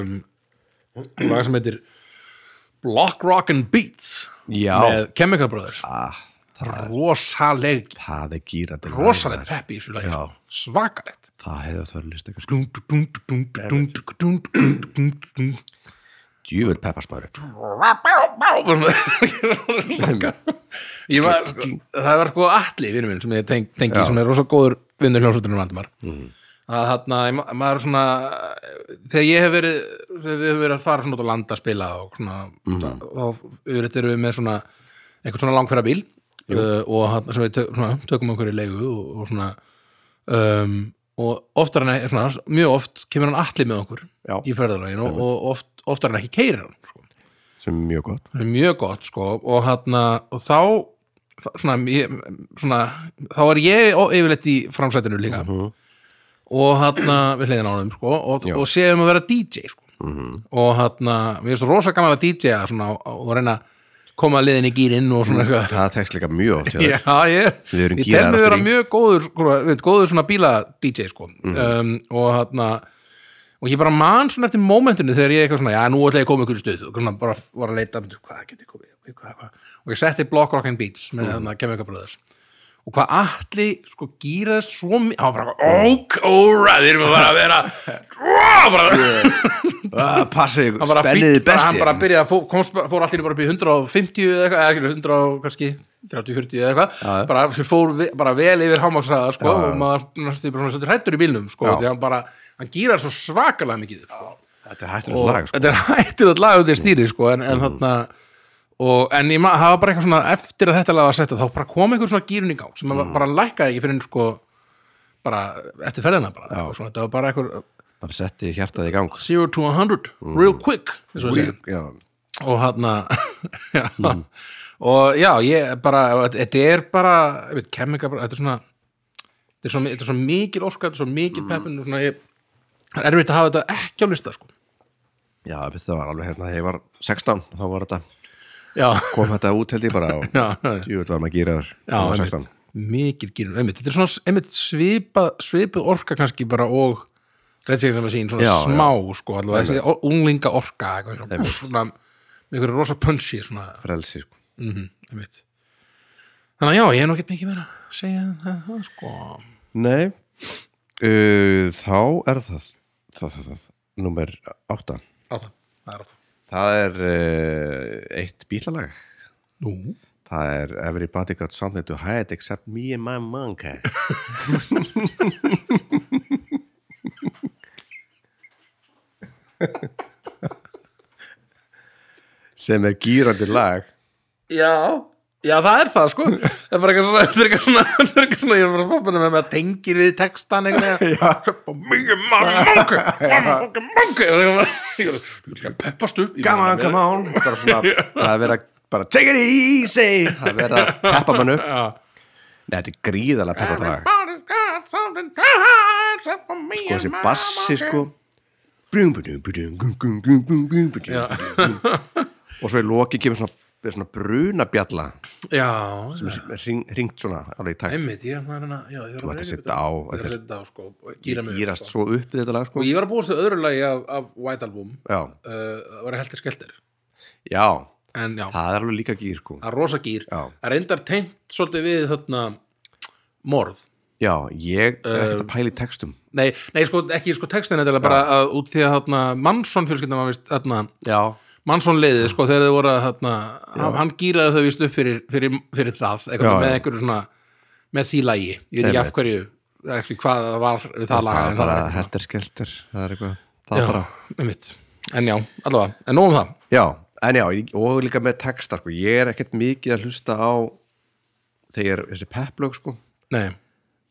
[SPEAKER 2] um, lag sem heitir Block Rock and Beats
[SPEAKER 1] Já.
[SPEAKER 2] með Chemical Brothers
[SPEAKER 1] ah,
[SPEAKER 2] rosaleg
[SPEAKER 1] það er gýrandi
[SPEAKER 2] rosaleg peppi í þessu lagi sko. svakalegt
[SPEAKER 1] það hefði það verið list eitthvað sko. djúvel pepparsmaður
[SPEAKER 2] ég var sko, það var sko Atli vinnu minn sem ég teng, tengi sem er rosa góður vinnur hljómsveitunum Valdimar um að þarna ég ma- maður svona þegar ég hef verið þegar við hefur verið að fara svona út á land að spila og svona þá yfirleitt erum við með svona einhvern svona langferða bíl uh, og hann, sem við tök, svona, tökum okkur í leigu og, og svona um, og oftar en ekki svona, mjög oft kemur hann Atli með okkur
[SPEAKER 1] Já.
[SPEAKER 2] í ferðalagin og, og oft, oftar en ekki keirir hann sko
[SPEAKER 1] sem er mjög gott
[SPEAKER 2] það er mjög gott sko og, hana, og þá þá- svona, ég, svona, þá er ég ó- yfirleitt í framsætinu líka og hann við hliðin á þeim sko og,
[SPEAKER 1] Já.
[SPEAKER 2] og séum að vera DJ sko. og hann, mér finnst rosa gaman að DJ-a svona, og- og reyna að koma liðin í gýrin og svona eitthvað
[SPEAKER 1] það tekst líka mjög oft hjá þér.
[SPEAKER 2] Já, ég,
[SPEAKER 1] Við erum
[SPEAKER 2] ég
[SPEAKER 1] gíraðar
[SPEAKER 2] tel mig
[SPEAKER 1] aftur
[SPEAKER 2] vera
[SPEAKER 1] í.
[SPEAKER 2] mjög góður, sko, veit, góður svona bíla-DJ sko.
[SPEAKER 1] Mhm.
[SPEAKER 2] um, og þarna og ég bara man svona eftir mómentinu þegar ég eitthvað svona, já, nú ætla ég að koma ykkur í stuð og svona bara var að leita, myndu, hvað get ég komið hvað, hvað, hvað? og ég setti Block Rock and Beats
[SPEAKER 1] Mhm.
[SPEAKER 2] með mm. þarna Chemical Brothers og hvað allir sko gýraðist svo mikið hann var bara, ok, óra, við erum að fara að vera Ó, bara,
[SPEAKER 1] Ah, passið,
[SPEAKER 2] hann bara,
[SPEAKER 1] spenniði
[SPEAKER 2] fíll, bara, hann
[SPEAKER 1] besti
[SPEAKER 2] bara byrjaði að fó, komst, bara- fór allir bara upp í 150 eða eitthvað, eða ekki, 100 og kannski 30-40 eða
[SPEAKER 1] Já.
[SPEAKER 2] eitthvað, bara fór vi- bara vel yfir hámaksraða sko,
[SPEAKER 1] Já.
[SPEAKER 2] og maður næstu bara svona hrættur í bílnum sko,
[SPEAKER 1] Já.
[SPEAKER 2] því hann bara, hann gýrar svo svakalega mikið sko.
[SPEAKER 1] þetta er hættur
[SPEAKER 2] og
[SPEAKER 1] lag sko. Mm.
[SPEAKER 2] þetta er hættilegt lag undir stýri sko, en, en þarna og, en ég ma- það var bara eitthvað svona eftir að þetta lag var sett þá bara kom einhver svona gýrun í gang sem mm. bara lækkaði ekki fyrir en sko bara eftir ferðina bara, eitthvað svona, þetta var bara eitthvað
[SPEAKER 1] bara setti hjartað í gang
[SPEAKER 2] 0 to 100, real
[SPEAKER 1] Mm.
[SPEAKER 2] quick eins og við segjum
[SPEAKER 1] já,
[SPEAKER 2] og hann já, og já, ég bara þetta er bara, ég veit, kemminga bara, þetta er svona þetta er svo, þetta er svo mikil orka, þetta er svo mikil peppin og svona, ég, það er erfitt að hafa þetta ekki á lista, sko
[SPEAKER 1] já þetta var alveg hérna þegar ég var 16 þá var þetta,
[SPEAKER 2] já,
[SPEAKER 1] kom þetta út held ég bara og
[SPEAKER 2] já, já,
[SPEAKER 1] jú, þetta var maður gýraður
[SPEAKER 2] já
[SPEAKER 1] þegar ég var
[SPEAKER 2] einmitt,
[SPEAKER 1] 16
[SPEAKER 2] mikil gýrun, einmitt, þetta er svona einmitt svipa, svipið orka kannski bara og reyndsikir sem að sín, svona
[SPEAKER 1] Já, já.
[SPEAKER 2] smá, sko allavega, þessi or- unglinga orka eitthvað, svona, svona, með einhverju rosa punchy svona,
[SPEAKER 1] frelsi sko.
[SPEAKER 2] mhm, einmitt þannig að já, ég er nú ekkert mikið meira að segja en það, það, sko
[SPEAKER 1] nei uh, þá er það það, það, það, nummer 8
[SPEAKER 2] Átta, það er átta
[SPEAKER 1] það er uh, eitt bílalag
[SPEAKER 2] Nú,
[SPEAKER 1] það er Everybody Got Something to Hide Except Me and My eh? Monkey sem er gýrandi lag
[SPEAKER 2] já Já, það er það, sko Það er bara eitthvað svona, það er eitthvað svona, það er eitthvað svona Ég er bara spoppunum með að tengir við textan eitthvað Mjög mann, mangu, mangu, mangu Ég er líka að peppast upp ég bara-
[SPEAKER 1] on bara svona, það er verið að bara take it easy það er verið að peppa mann upp
[SPEAKER 2] Já.
[SPEAKER 1] Nei, þetta er gríðalega peppa lag
[SPEAKER 2] Everybody's got something to hide except for me
[SPEAKER 1] sko
[SPEAKER 2] and
[SPEAKER 1] þessi
[SPEAKER 2] my
[SPEAKER 1] bassi
[SPEAKER 2] monkey.
[SPEAKER 1] sko brum, brum, brum, brum, brum, brum, brum, brum, brum, brum, brum. og svo í loki kemur svona er svona brunabjalla
[SPEAKER 2] já, já,
[SPEAKER 1] hring, hringt svona alveg í takt
[SPEAKER 2] einmitt ég, maður, hérna- já, ég
[SPEAKER 1] Þú ætti að
[SPEAKER 2] þarf reyna
[SPEAKER 1] setja á,
[SPEAKER 2] þetta.
[SPEAKER 1] þetta
[SPEAKER 2] ég þarf
[SPEAKER 1] er-
[SPEAKER 2] að setja á sko, og gýra mig upp,
[SPEAKER 1] gýrast
[SPEAKER 2] sko.
[SPEAKER 1] svo upp í þetta lag sko
[SPEAKER 2] og ég var að búast við öðru lagi af, af White Album uh,
[SPEAKER 1] já,
[SPEAKER 2] það var heldur skelltir
[SPEAKER 1] já,
[SPEAKER 2] en já,
[SPEAKER 1] það er alveg líka gýr sko
[SPEAKER 2] það er rosa gýr
[SPEAKER 1] já,
[SPEAKER 2] það reyndar tengt svolítið við þarna morð
[SPEAKER 1] já ég er
[SPEAKER 2] Um,
[SPEAKER 1] ekkert að pæla í textum
[SPEAKER 2] Nei, nei sko, ekki sko textin þetta bara að, út því að þarna, Mansson fjölskyldan var vist þarna,
[SPEAKER 1] já,
[SPEAKER 2] Mansson leiði sko þegar þau voru að þarna, hann, hann gýraði þau vist upp fyrir, fyrir, fyrir það eitthvað,
[SPEAKER 1] Já,
[SPEAKER 2] með
[SPEAKER 1] já.
[SPEAKER 2] einhverju svona með því lagi, ég veit
[SPEAKER 1] Einmitt.
[SPEAKER 2] ekki af hverju ekki hvað það var við það laga
[SPEAKER 1] það
[SPEAKER 2] en
[SPEAKER 1] er bara
[SPEAKER 2] var-
[SPEAKER 1] helter skelter það er eitthvað, það
[SPEAKER 2] já,
[SPEAKER 1] er bara
[SPEAKER 2] einmitt. en já, allavega, en nóg um það
[SPEAKER 1] Já, en já, ég- og líka með texta sko. ég er ekkert mikið að hlusta á þegar þessi pepplög sko,
[SPEAKER 2] nei,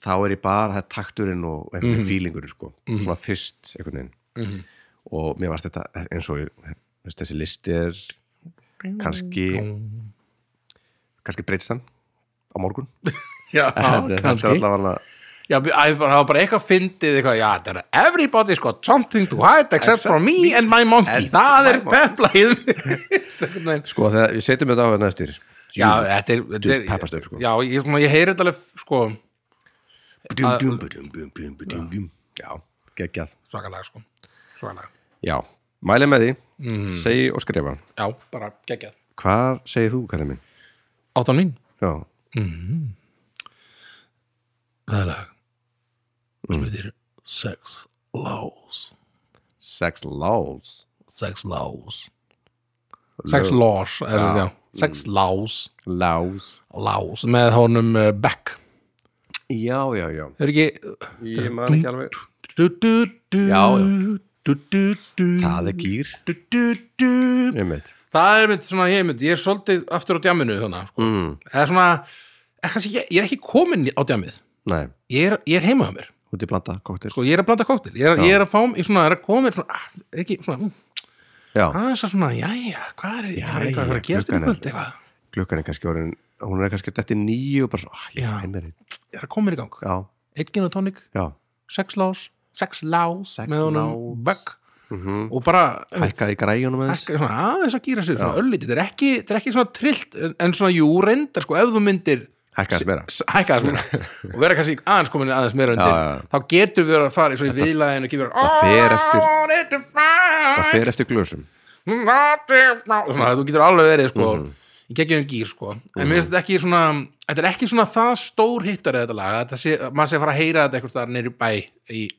[SPEAKER 1] þá er ég bara það er takturinn og einhvern veginn feelingurinn sko, svona fyrst einhvern veginn og mér varst þetta eins og ég- veist, þessi listi er kannski kannski breytist hann á morgun
[SPEAKER 2] já,
[SPEAKER 1] Þetta- þetta er allavega
[SPEAKER 2] já, æ, bara, það var bara eitthvað fyndið eitthvað, já, þetta er everybody sko, something to hide except for me and my monkey,
[SPEAKER 1] And
[SPEAKER 2] það er
[SPEAKER 1] my
[SPEAKER 2] peplæð einhvern veginn
[SPEAKER 1] sko, þegar við setjum þetta á hérna eftir
[SPEAKER 2] Já, þetta er, þetta er
[SPEAKER 1] peppast upp, sko.
[SPEAKER 2] Já, ég, svona, ég heyri þetta alveg sko,
[SPEAKER 1] Dum, dum, dum, dum, dum, dum, dum. já, geggjað
[SPEAKER 2] svakalega sko. Svakalega
[SPEAKER 1] já, mælið með því segi og skrifa
[SPEAKER 2] Já, bara geggjað
[SPEAKER 1] Hvað segir þú, kallið minn?
[SPEAKER 2] Áttan mín
[SPEAKER 1] Já,
[SPEAKER 2] Það er lag sem heitir Sex Laws
[SPEAKER 1] sex laws
[SPEAKER 2] Sex Laws Sex Laws er, já. Sex Laws
[SPEAKER 1] Laws
[SPEAKER 2] Laws með honum uh, Beck
[SPEAKER 1] Já, já, já
[SPEAKER 2] Er ekki
[SPEAKER 1] Ég man ekki alveg
[SPEAKER 2] du, du, du,
[SPEAKER 1] Já, já.
[SPEAKER 2] Du, du, du,
[SPEAKER 1] Það er gýr
[SPEAKER 2] du, du, du.
[SPEAKER 1] Ég veit
[SPEAKER 2] Það er mynd svona, ég mynd, ég er svolítið aftur á djaminu þannig, sko.
[SPEAKER 1] mm.
[SPEAKER 2] Það er svona, er, kannski, ég, ég er ekki komin á djamið
[SPEAKER 1] Nei,
[SPEAKER 2] ég er, ég er heima á mér
[SPEAKER 1] út í blanda, kóttir
[SPEAKER 2] sko, ég er að blanda kóktel, ég, er- ég er að fá ég svona, er að koma mér svona, ah, ekki, svona mm,
[SPEAKER 1] Já,
[SPEAKER 2] aðeins að svona, jæja, hvað er, jæja, er eitthvað að fara að gerast í
[SPEAKER 1] klukkan er-
[SPEAKER 2] kvöld eitthvað,
[SPEAKER 1] klukkan er kannski orðin Hún er kannski dætti nýju og bara svo ah, Ég
[SPEAKER 2] Já.
[SPEAKER 1] fæ mér einn
[SPEAKER 2] ég er að koma mér í gang
[SPEAKER 1] Já,
[SPEAKER 2] eitt gin og tónik,
[SPEAKER 1] já
[SPEAKER 2] sex lás sex lás,
[SPEAKER 1] Sex
[SPEAKER 2] með honum
[SPEAKER 1] lás.
[SPEAKER 2] bögg
[SPEAKER 1] mm -hmm.
[SPEAKER 2] og bara,
[SPEAKER 1] Hækkaði í græjunum aðeins
[SPEAKER 2] hækka svona, aðeins að gýra sig svona öllítið, þetta er ekki, þetta er ekki svona trillt en, en svona, jú, reyndar, sko, ef þú myndir
[SPEAKER 1] Hækkaði að vera
[SPEAKER 2] s- hækka aðeins meira og vera kannski aðeins komin aðeins meira
[SPEAKER 1] Já,
[SPEAKER 2] undir,
[SPEAKER 1] já, já.
[SPEAKER 2] þá getur við að fara eins og "Oh, í viðlæðinu ekki vera
[SPEAKER 1] það fer eftir-
[SPEAKER 2] "All it defines."
[SPEAKER 1] Það fer eftir glösum
[SPEAKER 2] og svona, þú getur alveg verið sko,
[SPEAKER 1] Mhm.
[SPEAKER 2] í geggjum gýr sko. en mér finnst þetta ekki svona þetta er ekki svona það stór hittari þetta lag, þetta sé, maður sé að fara að heyra þetta eitthvað staðar neyri bæ í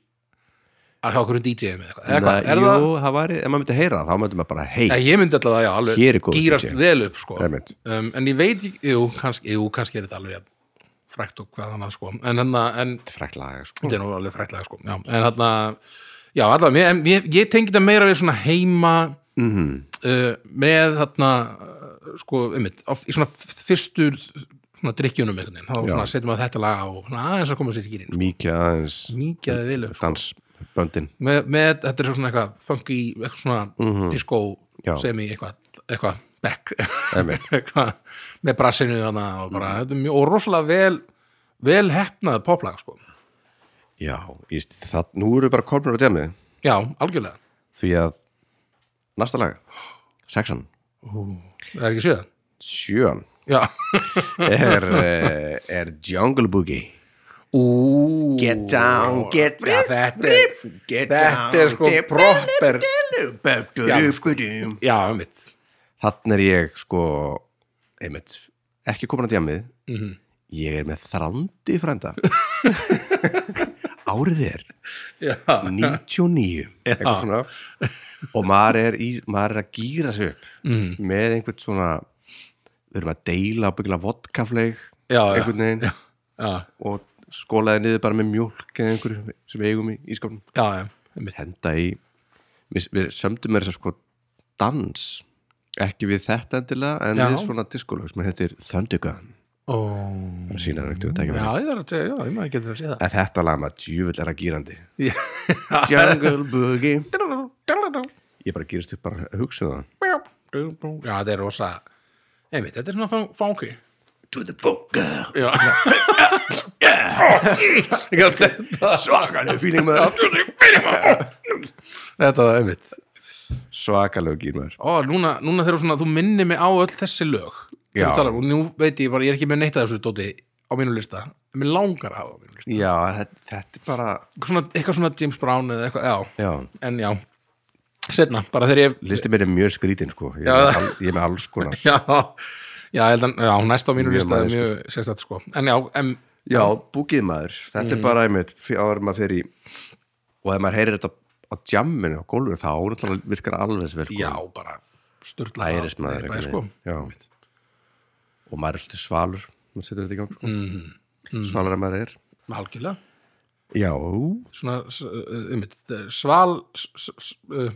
[SPEAKER 2] að hjá okkur um DJ-um eða eitthvað, eða
[SPEAKER 1] Nei,
[SPEAKER 2] eitthvað er það,
[SPEAKER 1] Jú, það væri, ef maður myndi heyra það, þá myndi maður bara hei
[SPEAKER 2] Nei, ég myndi alltaf að já, alveg
[SPEAKER 1] Hér er góður
[SPEAKER 2] gýrast
[SPEAKER 1] DJ.
[SPEAKER 2] vel upp sko. um,
[SPEAKER 1] Einmitt.
[SPEAKER 2] en ég veit, ekki- jú, kannski, jú, kannski er þetta alveg jafn frækt og hvað annað sko. en hann en
[SPEAKER 1] Frækt laga, sko
[SPEAKER 2] þetta er nú alveg frætlega sko já, en þarna, já allavega mér, en ég, ég tengi þetta meira við svona heima
[SPEAKER 1] Mhm.
[SPEAKER 2] uh, með þarna uh, sko, einmitt, á, í svona f- fyrstu svona drikkjunum einhvern veginn, þá
[SPEAKER 1] Já.
[SPEAKER 2] svona setjum við þetta lag á og svona aðeins að koma sér í gýrin,
[SPEAKER 1] Mikið aðeins
[SPEAKER 2] sko, mikið að
[SPEAKER 1] Mm.
[SPEAKER 2] vilja sko.
[SPEAKER 1] Dansböndin
[SPEAKER 2] með, með, þetta er svona eitthvað funky, eitthvað svona disco
[SPEAKER 1] Mhm. Já.
[SPEAKER 2] semi, eitthvað, eitthvað back,
[SPEAKER 1] Einmitt.
[SPEAKER 2] eitthvað með brassinu þarna og bara þetta er mjög, og rosalega vel vel hefnað poplag sko,
[SPEAKER 1] Já, ég, veist, það, nú eru bara kormur á demið
[SPEAKER 2] já, algjörlega
[SPEAKER 1] því að næsta lag, sexan
[SPEAKER 2] Það er ekki sjöðan?
[SPEAKER 1] sjön
[SPEAKER 2] Já.
[SPEAKER 1] er, eh, er Jungle Boogie
[SPEAKER 2] Ú,
[SPEAKER 1] Get down, get
[SPEAKER 2] já,
[SPEAKER 1] down
[SPEAKER 2] þetta er,
[SPEAKER 1] get
[SPEAKER 2] þetta er sko proper. Já.
[SPEAKER 1] Þannig
[SPEAKER 2] Já, mitt.
[SPEAKER 1] er ég sko einmitt, ekki komin að djamið
[SPEAKER 2] Mhm.
[SPEAKER 1] ég er með þrandi frænda árið er
[SPEAKER 2] Já,
[SPEAKER 1] 99 eitthvað svona og maður er, í, maður er að gýra sig upp
[SPEAKER 2] Mm.
[SPEAKER 1] með einhvern svona við erum að deila byggla vodkafleig
[SPEAKER 2] Já, já.
[SPEAKER 1] einhvern veginn
[SPEAKER 2] já,
[SPEAKER 1] og skólaði niður bara með mjólk eða einhverju sem við eigum í ískapnum
[SPEAKER 2] já, já, mitt.
[SPEAKER 1] henda í við, við sömdum með þess að sko dans ekki við þetta endilega en
[SPEAKER 2] Já.
[SPEAKER 1] við svona diskólag sem heitir Thunder Gun
[SPEAKER 2] Ó,
[SPEAKER 1] bara sína reyndi við
[SPEAKER 2] já,
[SPEAKER 1] tækja
[SPEAKER 2] ég þarf að segja, já, ég maður getur að segja það.
[SPEAKER 1] en þetta lag maður djúvill er að gýrandi
[SPEAKER 2] Já.
[SPEAKER 1] Jungle Boogie ég bara gýrist upp bara að hugsa um það
[SPEAKER 2] Já, þetta er rosa, einmitt, þetta er svona fun- funky.
[SPEAKER 1] to the bunker
[SPEAKER 2] Já. Já. Þetta,
[SPEAKER 1] svakalegu fíling með
[SPEAKER 2] þetta, einmitt.
[SPEAKER 1] svakalegu gýr maður
[SPEAKER 2] Ó, núna, núna þegar þú svona, þú minnir mig á öll þessi lög
[SPEAKER 1] Já.
[SPEAKER 2] Þú talar, um, og nú veit ég bara, ég er ekki með neitt að þessu dóti á mínu lista, en mér langar að hafa á mínu lista
[SPEAKER 1] Já, þetta, þetta er bara
[SPEAKER 2] eitthvað svona, eitthvað svona James Brown eða eitthvað, já,
[SPEAKER 1] Já,
[SPEAKER 2] en já setna, bara þegar ég
[SPEAKER 1] listi mér er mjög skrítin sko Ég,
[SPEAKER 2] Já,
[SPEAKER 1] er,
[SPEAKER 2] það-
[SPEAKER 1] al, ég er með alls konar
[SPEAKER 2] já, já, ég held að, já, næst á mínu
[SPEAKER 1] Mjög
[SPEAKER 2] lista er
[SPEAKER 1] maður,
[SPEAKER 2] mjög sérstætt sko, en já, Mm. em,
[SPEAKER 1] Já, búkið maður, þetta er bara einmitt fyr- áður en maður fyrir í og ef maður heyrir þetta á jamminu á gólfinu þá náttúrulega virkar alveg sko. þess verið
[SPEAKER 2] já, bara sturla
[SPEAKER 1] Æris maður
[SPEAKER 2] eitthvað,
[SPEAKER 1] einhvern
[SPEAKER 2] sko.
[SPEAKER 1] veginn. Já. og maður er svolítið svalur maður setur þetta í gang sko.
[SPEAKER 2] Mm.
[SPEAKER 1] svalur að maður er
[SPEAKER 2] algjörlega,
[SPEAKER 1] Já,
[SPEAKER 2] svona s- uh, um, sval s- s- s- uh,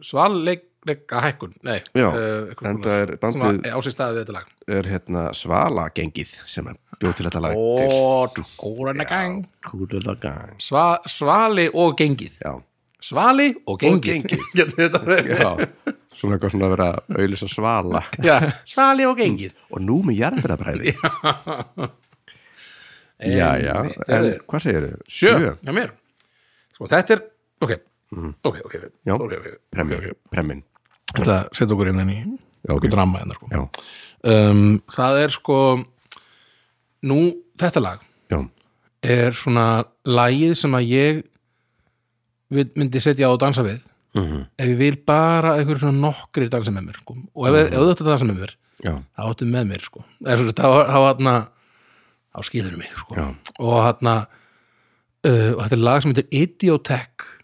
[SPEAKER 2] svalleika hækkun, nei
[SPEAKER 1] Já,
[SPEAKER 2] uh, eitthvað
[SPEAKER 1] enda
[SPEAKER 2] svona
[SPEAKER 1] er
[SPEAKER 2] sem
[SPEAKER 1] bandið
[SPEAKER 2] að- á sér staðið við þetta lag
[SPEAKER 1] er hérna svalagengið sem er bjóð til þetta lag
[SPEAKER 2] og kúrana gang
[SPEAKER 1] Kúrulagang
[SPEAKER 2] Sva, svali og gengið
[SPEAKER 1] Já,
[SPEAKER 2] svali og gengið,
[SPEAKER 1] gengið.
[SPEAKER 2] getur þetta verið
[SPEAKER 1] já Svona eitthvað svona að vera að auðlýsa svala
[SPEAKER 2] já, svali og gengið
[SPEAKER 1] Og nú með jarðbyrðabræði Já, já En
[SPEAKER 2] Heyrðu,
[SPEAKER 1] hvað segir þau?
[SPEAKER 2] sjö, hjá mér sko þetta er, ok ok, ok,
[SPEAKER 1] Mm. Já.
[SPEAKER 2] ok, ok, ok,
[SPEAKER 1] Premmin,
[SPEAKER 2] ok.
[SPEAKER 1] premmin.
[SPEAKER 2] þetta setja okkur inn enn í
[SPEAKER 1] Já, ok.
[SPEAKER 2] okkur drama enn sko.
[SPEAKER 1] Já,
[SPEAKER 2] um, það er sko nú, þetta lag
[SPEAKER 1] já,
[SPEAKER 2] er svona lagið sem að ég vil- myndi setja á að dansa við
[SPEAKER 1] Mhm.
[SPEAKER 2] ef ég vil bara einhverjum svona nokkrir dansa með mér sko. og ef, ef þú ættu að dansa með mér
[SPEAKER 1] já
[SPEAKER 2] þá áttu með mér sko. Eða svo, þá, þá, þá, þá skýður mig sko.
[SPEAKER 1] Já.
[SPEAKER 2] og, þarna, uh, og þetta er lag sem heitir Idiotech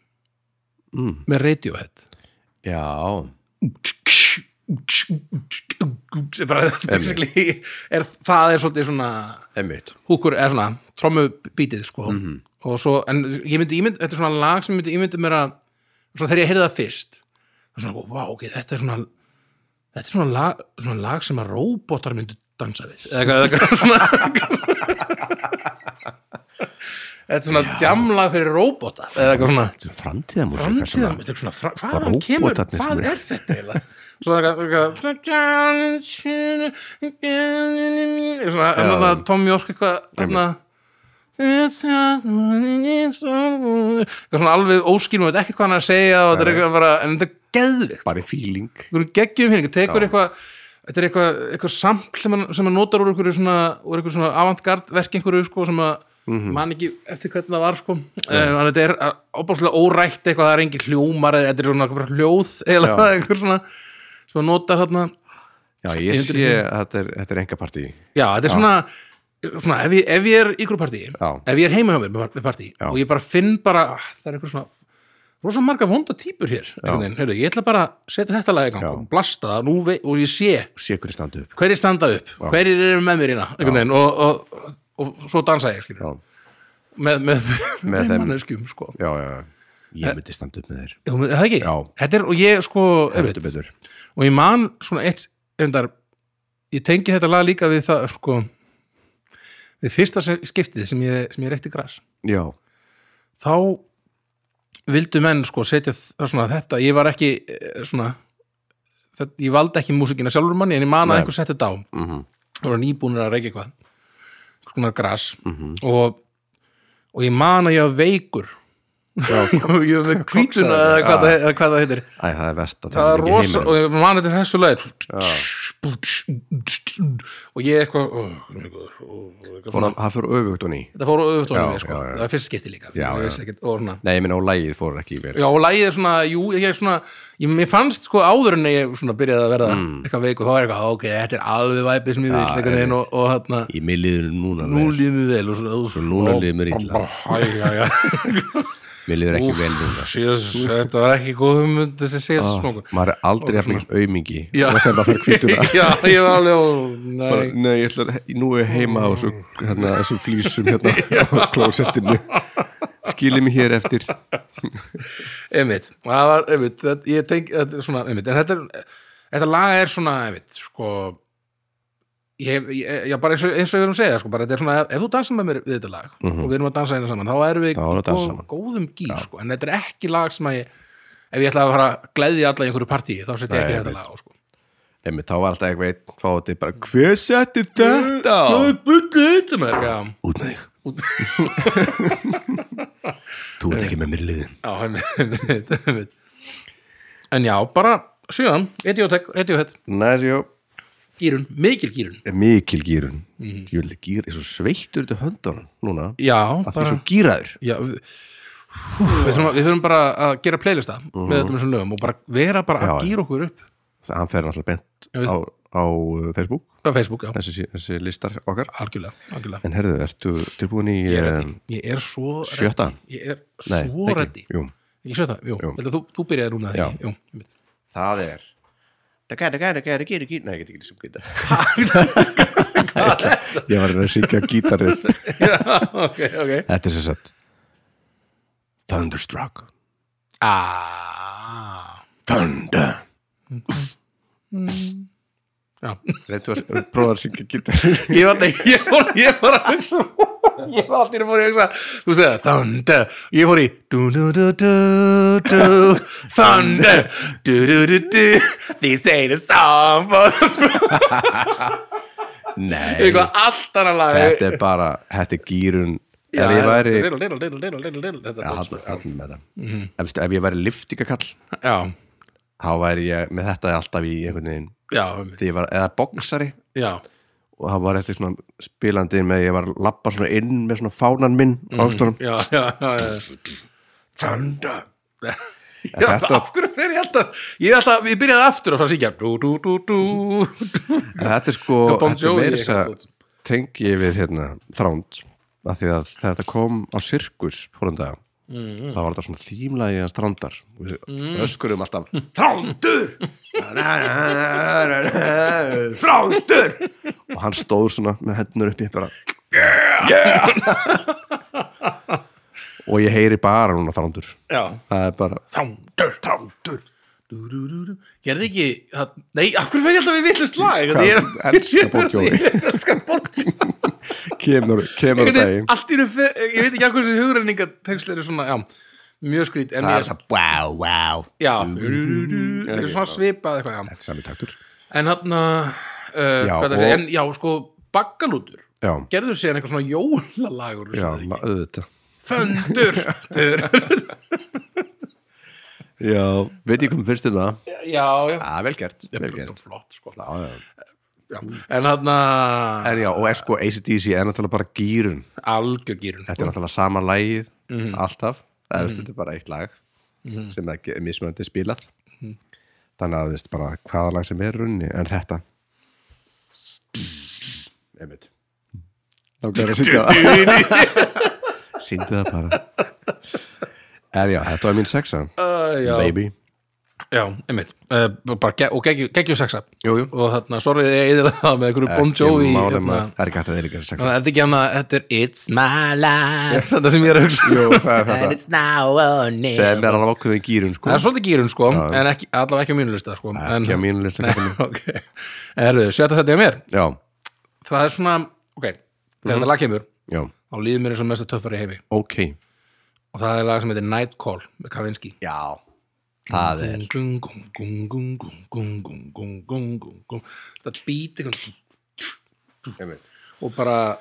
[SPEAKER 1] mm.
[SPEAKER 2] með Radiohead
[SPEAKER 1] Já,
[SPEAKER 2] bara basically er, það er svolítið svona
[SPEAKER 1] emmitt
[SPEAKER 2] húkur, eða svona trommubítið sko. og svo, en ég myndi, ég myndi þetta er svona lag sem myndi, ég myndi mér að svona þegar ég heyrði það fyrst það er svona, wow, ok, þetta er svona þetta er svona lag, svona lag sem að róbotar myndu dansa við eða eitthvað, eða eitthvað svona þetta er svona djamla fyrir róbota eða eitthvað svona
[SPEAKER 1] Þetta er framtíðamúsika
[SPEAKER 2] framtíðan, þetta er svona, fra- hvaðan
[SPEAKER 1] Bara
[SPEAKER 2] kemur,
[SPEAKER 1] róbotarnir
[SPEAKER 2] hvað
[SPEAKER 1] sem-
[SPEAKER 2] er þetta eiginlega? Svona eitthvað, eitthvað svona, en
[SPEAKER 1] Já.
[SPEAKER 2] það Tommy York eitthvað, þarna eitthvað svona alveg óskýr, maður veit ekkert hvað hann er að segja og þetta er eitthvað bara, en þetta er geðvikt
[SPEAKER 1] Bara í fíling
[SPEAKER 2] einhverjum geggjum hérna, tekur eitthvað þetta er eitthvað, eitthvað sampl sem hann, sem hann notar úr einhverju svona, úr einhverju svona avantgard verk einhverju sko sem að
[SPEAKER 1] Mhm.
[SPEAKER 2] man ekki eftir hvernig það var sko þannig um, þetta er opáslega órætt eitthvað það er engin hljómar eða þetta er svona bara hljóð eða
[SPEAKER 1] Já.
[SPEAKER 2] eitthvað svona sem hann notar þarna
[SPEAKER 1] Já, ég
[SPEAKER 2] Yfir-
[SPEAKER 1] sé að þetta er, þetta er enga partí
[SPEAKER 2] já, þetta er svona, svona ef, ég, ef ég er í ykkur partí
[SPEAKER 1] Já.
[SPEAKER 2] ef ég er heima hjá mér með- með partí
[SPEAKER 1] Já.
[SPEAKER 2] og ég bara finn bara ah, það er einhver svona rosa marga vonda típur hér Heru, ég ætla bara að setja þetta lag í gang
[SPEAKER 1] Já.
[SPEAKER 2] og blasta það nú vei- og ég sé
[SPEAKER 1] Sé hverju standu upp
[SPEAKER 2] hverjir standa upp, hverjir eru með mér hérna einhvern veginn og, og, og, og svo dansa ég skilur,
[SPEAKER 1] Já,
[SPEAKER 2] með, með, með
[SPEAKER 1] þeim.
[SPEAKER 2] manneskjum sko.
[SPEAKER 1] já, já Ég myndi standa upp með þér
[SPEAKER 2] Jú, er það ekki,
[SPEAKER 1] Já.
[SPEAKER 2] þetta er og ég sko einmitt.
[SPEAKER 1] Heldur betur
[SPEAKER 2] og ég man svona eitt endar, ég tengi þetta lag líka við það sko við fyrsta sem- skiptið sem ég, sem ég reykti græs
[SPEAKER 1] Já,
[SPEAKER 2] þá vildu menn sko setja þ- svona, þetta, ég var ekki eh, svona þetta, ég valdi ekki músikina sjálfur manni en ég man
[SPEAKER 1] Nei.
[SPEAKER 2] að einhver setti þetta á
[SPEAKER 1] mhm
[SPEAKER 2] það voru nýbúnir að reykja eitthvað einhvers konar gras og, og ég man að ég var veikur ég var með kvítuna eða hvað, það, eða hvað það heitir
[SPEAKER 1] Æ, það er vest að
[SPEAKER 2] það er
[SPEAKER 1] er
[SPEAKER 2] rosa og ég man þetta er þessu leið
[SPEAKER 1] Já.
[SPEAKER 2] og ég eitthvað ó, guð minn góður, ó, eitthvað
[SPEAKER 1] Fór
[SPEAKER 2] svona-
[SPEAKER 1] að, það fyrir öfugt og ný
[SPEAKER 2] þetta fór
[SPEAKER 1] Já,
[SPEAKER 2] öfutónum sko.
[SPEAKER 1] já, já.
[SPEAKER 2] það er fyrst skipti líka
[SPEAKER 1] Já,
[SPEAKER 2] ég
[SPEAKER 1] já.
[SPEAKER 2] vissi ekkert, og svona
[SPEAKER 1] Nei, ég minna og lægið fór ekki í mér
[SPEAKER 2] Já, og lagið er svona, jú, ég er svona ég, mér fannst sko áður en ég svona byrjaði að verða eitthvað veik og þá er eitthvað, ok, þetta er alveg væpið sem ég vil, eitthvað neginn og, og hérna
[SPEAKER 1] Í mig liður núna
[SPEAKER 2] nú
[SPEAKER 1] vel.
[SPEAKER 2] líður mér vel og svo,
[SPEAKER 1] Svo núna líður mér illa.
[SPEAKER 2] Hæ, já, já.
[SPEAKER 1] Mér liður ekki vel núna
[SPEAKER 2] Jesus, þetta var ekki góð hugmynd þessi síðast
[SPEAKER 1] Ah,
[SPEAKER 2] smokur
[SPEAKER 1] Maður er aldrei að mikið aumingi
[SPEAKER 2] Já.
[SPEAKER 1] Og þetta fyrir kvítuna
[SPEAKER 2] já, ég var alveg ó,
[SPEAKER 1] Bara,
[SPEAKER 2] nei,
[SPEAKER 1] Nei, ég ætla að, nú er ég heima á svo, hérna, þessum flýsum hérna á klósettinu Skilið mig hér eftir
[SPEAKER 2] einmitt það var, einmitt, þetta, ég tenk þetta er svona, einmitt, en þetta er þetta lag er svona, einmitt, sko ég, ég, já, bara eins og, eins og við erum að segja, sko, bara þetta er svona ef þú dansar með mér við þetta lag og við erum að dansa einu saman, þá erum við
[SPEAKER 1] Mhm. Þá erum við að dansa
[SPEAKER 2] góð,
[SPEAKER 1] saman.
[SPEAKER 2] góðum gýr, sko, en þetta er ekki lag sem að ég, ef ég ætla að fara að gleðja alla í einhverju partíi, þá setja ég
[SPEAKER 1] Nei,
[SPEAKER 2] ekki
[SPEAKER 1] ég
[SPEAKER 2] þetta
[SPEAKER 1] veit.
[SPEAKER 2] lag, á, sko
[SPEAKER 1] Nei, þá var alltaf eitthvað einn fáti bara Hver setti þetta?
[SPEAKER 2] Nú er bullið þetta með þér, já
[SPEAKER 1] Út með þig Þú ert ekki með mér liðin
[SPEAKER 2] Já, einmitt, einmitt, einmitt. en já, bara sjöðan, Radiohead, Radiohead
[SPEAKER 1] Næsjó
[SPEAKER 2] gýrun, mikil gýrun
[SPEAKER 1] Mikil gýrun Jöli gýr, er svo sveittur þetta höndunum núna
[SPEAKER 2] já,
[SPEAKER 1] að það er
[SPEAKER 2] bara
[SPEAKER 1] svo gýraður
[SPEAKER 2] já, við, hú, við, þurfum, að- við þurfum bara að gera playlista með öllum þessum lögum og bara vera bara
[SPEAKER 1] Mhm. Já, já.
[SPEAKER 2] að gýra okkur upp
[SPEAKER 1] Það hann fer náttúrulega bent
[SPEAKER 2] Ég veit.
[SPEAKER 1] á, á uh, Facebook
[SPEAKER 2] á Facebook, já,
[SPEAKER 1] þessi, þessi listar okkar
[SPEAKER 2] algjörlega, algjörlega.
[SPEAKER 1] En herðu, ertu tilbúin í
[SPEAKER 2] Ég, er
[SPEAKER 1] eh,
[SPEAKER 2] ready. ég er svo ready.
[SPEAKER 1] sjötta?
[SPEAKER 2] ég er
[SPEAKER 1] Nei,
[SPEAKER 2] svo
[SPEAKER 1] ekki.
[SPEAKER 2] reddi
[SPEAKER 1] Jú,
[SPEAKER 2] ekki sjötta, jú,
[SPEAKER 1] Jú.
[SPEAKER 2] jú. Þú, þú byrjaði núna
[SPEAKER 1] Já.
[SPEAKER 2] þegar, jú, einmitt.
[SPEAKER 1] það er Það gæti, gæti, gæti, gæti, gæti Nei, ég get ekki sem gítar Ég var að reyna að syngja gítarið
[SPEAKER 2] já, ok, ok
[SPEAKER 1] Þetta er sem sagt Thunderstruck
[SPEAKER 2] ah,
[SPEAKER 1] Thunder
[SPEAKER 2] já.
[SPEAKER 1] Reyndu að prófa að syngja gítarið
[SPEAKER 2] ég var, nei, ég var, ég var að hugsa ég var allir að fór í að hugsa þú segði thunder, ég fór í du du du du du thunder, du du du du this ain't a song for
[SPEAKER 1] Nei,
[SPEAKER 2] eitthvað allt annað lag
[SPEAKER 1] þetta er bara Þetta er gýrun Ef ég væri
[SPEAKER 2] little, little, little, little, little, little,
[SPEAKER 1] sko, Já,
[SPEAKER 2] þetta er
[SPEAKER 1] hann- hann með það. Ef veistu, ef ég væri liftingakall
[SPEAKER 2] já,
[SPEAKER 1] þá væri ég með þetta alltaf í einhvern veginn
[SPEAKER 2] já, einmitt,
[SPEAKER 1] þegar ég var eða boksari
[SPEAKER 2] já
[SPEAKER 1] og það var eftir svona spilandi með ég var að lappa svona inn með svona fánan minn á aukstunum
[SPEAKER 2] já, já, já, já. Thunder Já,
[SPEAKER 1] þetta-
[SPEAKER 2] af hverju fer ég alltaf ég, er alltaf, ég byrjaði aftur að fara að syngja dú, dú, dú, dú, dú.
[SPEAKER 1] en þetta er sko
[SPEAKER 2] Bon
[SPEAKER 1] þetta er
[SPEAKER 2] Jovi,
[SPEAKER 1] meira þess
[SPEAKER 2] eitthvað
[SPEAKER 1] að tengi ég við hérna þránd af því að þegar þetta kom á sirkus fórum dag
[SPEAKER 2] Mhm.
[SPEAKER 1] þá var þetta svona þýmlagi hans þrándar og við öskurum alltaf þrándur þrándur og hann stóð svona með hendur upp í bara yeah! og ég heyri bara núna þrándur
[SPEAKER 2] Já,
[SPEAKER 1] það er bara
[SPEAKER 2] þándur, þándur dú, dú, dú, dú. Gerði ekki það, Nei, af hverju fer ég alltaf við villust lag
[SPEAKER 1] Hvað, elska Bon Jovi.
[SPEAKER 2] Ég elska Bon Jovi
[SPEAKER 1] kemur, kemur
[SPEAKER 2] Einhvern
[SPEAKER 1] daginn
[SPEAKER 2] veginn, Allt í röf Ég veit ekki af hverju þessi hugrenningatengsl eru svona Já, mjög skrýt En
[SPEAKER 1] það er Mm.
[SPEAKER 2] ég,
[SPEAKER 1] það wow, wow
[SPEAKER 2] já dú, dú, dú, dú, Þetta er svona svipað eitthvað já.
[SPEAKER 1] sami taktur
[SPEAKER 2] En hann uh,
[SPEAKER 1] Já,
[SPEAKER 2] Hvað það
[SPEAKER 1] og-
[SPEAKER 2] sé En já, sko, baggalútur
[SPEAKER 1] já,
[SPEAKER 2] Gerður síðan eitthvað svona jólalagur
[SPEAKER 1] já, ma- auðvitað
[SPEAKER 2] Föndur Dur.
[SPEAKER 1] já, veit ég komið fyrst um það
[SPEAKER 2] Já, já
[SPEAKER 1] já, vel gert,
[SPEAKER 2] Þetta
[SPEAKER 1] vel
[SPEAKER 2] er
[SPEAKER 1] gert.
[SPEAKER 2] flott, sko
[SPEAKER 1] Já, já.
[SPEAKER 2] já. En hann uh,
[SPEAKER 1] en já, og er sko ACDC er náttúrulega bara gýrun
[SPEAKER 2] algjögýrun
[SPEAKER 1] þetta er náttúrulega sama lagið alltaf, það er þetta er bara eitt lag sem er ekki- er mismunandi spilað Mm. þannig að þú veist bara hvaða lag sem er runni, en þetta einmitt langar að syngja það sýndu það bara en já, þetta var mín sexa
[SPEAKER 2] Uh, já,
[SPEAKER 1] baby
[SPEAKER 2] já, einmitt uh, bara ge og geggjum geggjum sexa
[SPEAKER 1] jú, jú.
[SPEAKER 2] og þarna, sorry ég eða það með einhverju Bon Jovi
[SPEAKER 1] Ekki málum
[SPEAKER 2] hérna.
[SPEAKER 1] að- það er ekki hægt að eilika sexa
[SPEAKER 2] Þannig að þetta er ekki hana, þetta er It's my life þetta sem ég er að hugsa
[SPEAKER 1] Jú, það er þetta.
[SPEAKER 2] And it's now or never
[SPEAKER 1] sem er alveg ákveðin gýrun sko
[SPEAKER 2] það er svolítið gýrun sko, en ekki, allavega ekki á mínu lista sko. en,
[SPEAKER 1] ekki á mínu lista
[SPEAKER 2] Nei, ok, erðu, sjötta þetta er mér
[SPEAKER 1] já,
[SPEAKER 2] það er svona, ok, þegar
[SPEAKER 1] Mhm.
[SPEAKER 2] þetta lag kemur
[SPEAKER 1] já,
[SPEAKER 2] þá líður mér eins og mesta töffari í heimi
[SPEAKER 1] ok
[SPEAKER 2] og það er lag sem heitir Night Call með Kavinsky
[SPEAKER 1] já, það er
[SPEAKER 2] Gung, gung, gung, gung, gung, gung, gung, gung, gung, gung, gung. það býti og bara,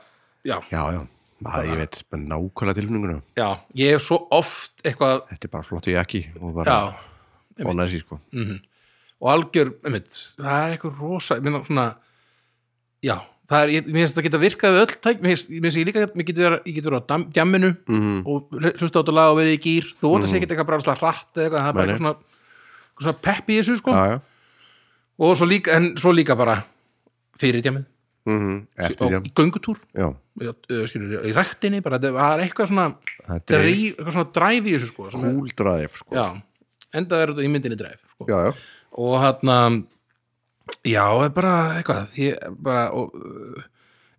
[SPEAKER 2] já,
[SPEAKER 1] Já, já, maður, ég veit bara nákvæmlega tilfinninguna
[SPEAKER 2] já ég er svo oft eitthvað
[SPEAKER 1] Þetta er bara flott í ekki og bara
[SPEAKER 2] já,
[SPEAKER 1] bólaði sér sko
[SPEAKER 2] og algjör, einmitt, það er eitthvað rosa, ég meina svona já, það er, ég, mér finnst þetta geta virkað við öll tæk, mér finnst mér finnst ég líka mér getur vera, ég getur vera á dam- djamminu mm.
[SPEAKER 1] Mhm.
[SPEAKER 2] og hlusta á þetta lag og verið í gýr þú vona sér ekki eitthvað bara slag hratt eða eitthvað það er bara
[SPEAKER 1] Mm. Nei, nei.
[SPEAKER 2] eitthvað svona, eitthvað svona pepp í þessu sko
[SPEAKER 1] Já, já
[SPEAKER 2] og svo líka, en svo líka bara fyrir djammið
[SPEAKER 1] mm -hmm. Eftir
[SPEAKER 2] og
[SPEAKER 1] því,
[SPEAKER 2] í göngutúr
[SPEAKER 1] já
[SPEAKER 2] já, uh, skilur, í rættinni bara, þetta- það er eitthvað svona
[SPEAKER 1] Það er
[SPEAKER 2] dræf,
[SPEAKER 1] dreif,
[SPEAKER 2] eitthvað svona dræf í þessu sko sem er,
[SPEAKER 1] cool drive sko
[SPEAKER 2] já, enda er þetta í myndinni dræf sko.
[SPEAKER 1] já, já,
[SPEAKER 2] og hann já, er bara eitthvað ég, er bara, og, uh,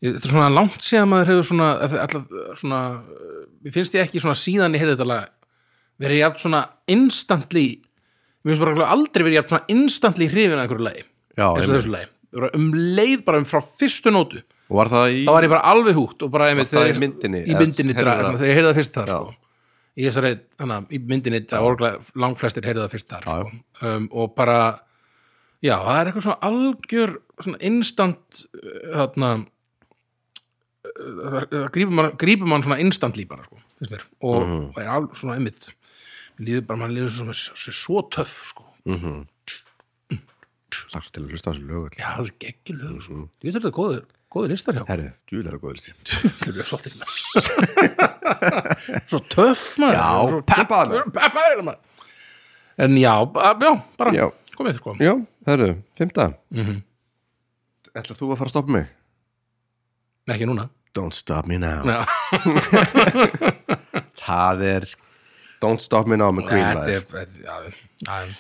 [SPEAKER 2] ég- þetta er svona langt síðan maður hefur svona, eh, alltaf, svona uh, mér finnst ég ekki svona síðan ég heyrði þetta lag verið jafn svona instantly mér finnst bara aldrei verið jafn svona instantly hrifin að einhverju lagi,
[SPEAKER 1] já
[SPEAKER 2] eins og
[SPEAKER 1] einmitt.
[SPEAKER 2] þessu lagi Bara um leið bara um frá fyrstu nótu
[SPEAKER 1] Og var það í
[SPEAKER 2] þá var ég bara alveg húgt og bara einmitt
[SPEAKER 1] Það
[SPEAKER 2] þegar
[SPEAKER 1] í
[SPEAKER 2] ég-
[SPEAKER 1] myndinni,
[SPEAKER 2] í
[SPEAKER 1] eða
[SPEAKER 2] myndinni
[SPEAKER 1] heyrðu
[SPEAKER 2] drag,
[SPEAKER 1] það?
[SPEAKER 2] þegar ég heyrði það fyrst þar sko. í þessari, þannig að í myndinni drag, orglega, langflestir heyrðu það fyrst þar
[SPEAKER 1] Já,
[SPEAKER 2] sko. um, og bara já, það er eitthvað svona algjör svona instant uh, þarna uh, það- það grípur mann, grípur mann svona instant lípana sko,
[SPEAKER 1] Mhm.
[SPEAKER 2] finnst mér og, og er alveg svona einmitt Mér líður bara, mann líður svo, svo, svo töff sko.
[SPEAKER 1] Mhm. Lagst til að hlusta á þessu lög
[SPEAKER 2] Já, það er geggjum lög sko.
[SPEAKER 1] Mhm.
[SPEAKER 2] Ég þetta er góður, góður listar hjá
[SPEAKER 1] Herðu, djúlega góð listi
[SPEAKER 2] Þetta er flott ekki Svo töff maður
[SPEAKER 1] Já,
[SPEAKER 2] Svo
[SPEAKER 1] peppaður, maður.
[SPEAKER 2] Peppaður maður En já, ba- já bara
[SPEAKER 1] Já.
[SPEAKER 2] komið Mhm. þér kom
[SPEAKER 1] Já, herðu, fymta Ætlar þú að fara að stoppa mig?
[SPEAKER 2] Nei, Ekki núna
[SPEAKER 1] Don't stop me now
[SPEAKER 2] Já.
[SPEAKER 1] Það er Don't stop me now með Queen
[SPEAKER 2] Þetta
[SPEAKER 1] maður.
[SPEAKER 2] er þetta- já, já.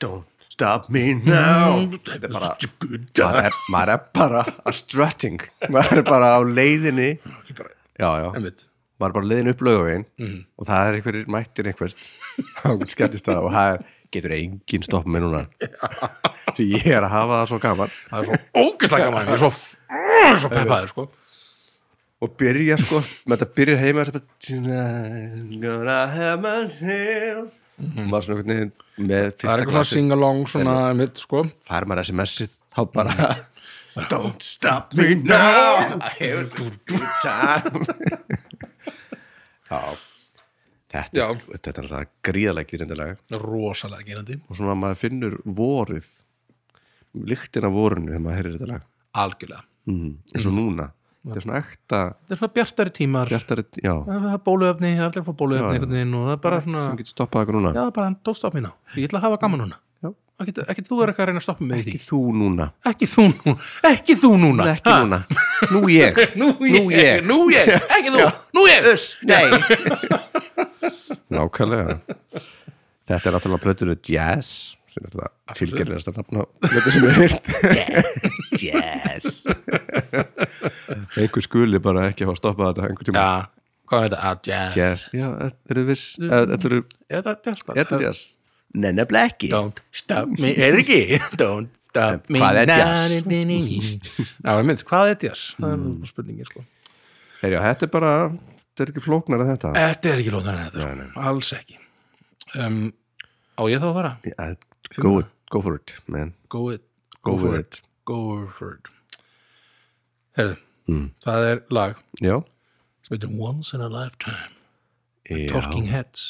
[SPEAKER 1] Don't stop me now Mm. Þetta er bara
[SPEAKER 2] Such a good
[SPEAKER 1] maður
[SPEAKER 2] time.
[SPEAKER 1] er, maður er bara að strutting maður er bara á leiðinni
[SPEAKER 2] Ekki bara-
[SPEAKER 1] já, já,
[SPEAKER 2] einmitt.
[SPEAKER 1] maður er bara á leiðinni upp laugavegin og það er einhverjir mættir einhvert skemmtist það og það er- getur enginn stopp með núna því ég er að hafa það svo gaman
[SPEAKER 2] Það er svo ógeðslega gaman Ég er svo, f- svo peppaður sko
[SPEAKER 1] og byrja sko, með þetta byrja heima þetta bara gonna have my hell og maður svona einhvern veginn með
[SPEAKER 2] Mhm. Það er
[SPEAKER 1] fyrsta
[SPEAKER 2] eitthvað svona
[SPEAKER 1] klassi
[SPEAKER 2] sing-along svona einmitt sko
[SPEAKER 1] fær maður SMS-ið þá bara Don't stop me now I have a good time Já Þetta,
[SPEAKER 2] Já.
[SPEAKER 1] þetta er alltaf gríðalega gerindilega
[SPEAKER 2] Rosalega gerandi
[SPEAKER 1] og svona maður finnur vorið lyktin af vorinu þegar maður heyrir þetta lag
[SPEAKER 2] Algjörlega
[SPEAKER 1] mm. eins og núna þetta er svona ekta
[SPEAKER 2] Þetta er svona bjartari tímar
[SPEAKER 1] hjartari, já,
[SPEAKER 2] Það er bóluefni, það er allir að fá bóluefni einhvern veginn og það er bara svona
[SPEAKER 1] sem getur stoppað okkur núna
[SPEAKER 2] Já, bara don't stop me now. Ég ætla að hafa gaman núna.
[SPEAKER 1] Já.
[SPEAKER 2] Ekki, ekki þú er eitthvað að reyna að stoppa mig í því.
[SPEAKER 1] ekki þú núna,
[SPEAKER 2] Ekki þú núna. Ekki þú núna.
[SPEAKER 1] ekki núna nú ég,
[SPEAKER 2] Nú ég. Nú ég. Nú ég. Ekki þú. Nú ég. Uss.
[SPEAKER 1] Nei Nákvæmlega Þetta er náttúrulega plötunni Jazz sem náttúrulega fylgjörðast að nafna plötu sem við heilt
[SPEAKER 3] Yes.
[SPEAKER 1] Einhver skuli bara ekki hafa stoppað þetta einhver tíma
[SPEAKER 2] Já. Hvað er þetta? Ah, jazz.
[SPEAKER 1] Jazz, já, er- eru viss Þetta
[SPEAKER 2] Er þetta jazz bara?
[SPEAKER 1] er jazz
[SPEAKER 3] Nenna Blackie.
[SPEAKER 2] Don't stop me. Er ekki? Don't stop me.
[SPEAKER 3] Hvað er
[SPEAKER 2] now.
[SPEAKER 3] jazz?
[SPEAKER 2] Já, ég mynd, hvað er jazz? Það er mm. spurningir sko.
[SPEAKER 1] Herjá, þetta er bara, þetta er ekki flóknar að þetta
[SPEAKER 2] Þetta er ekki lóðan en þetta sko. Alls ekki. Um, á ég þá að fara?
[SPEAKER 1] Yeah, go, it- go for it, man
[SPEAKER 2] Go it.
[SPEAKER 1] Go for it
[SPEAKER 2] Go for it. Herðu,
[SPEAKER 1] Hmm.
[SPEAKER 2] það er lag.
[SPEAKER 1] Já,
[SPEAKER 2] sem heitir Once in a Lifetime
[SPEAKER 1] já,
[SPEAKER 2] Talking Heads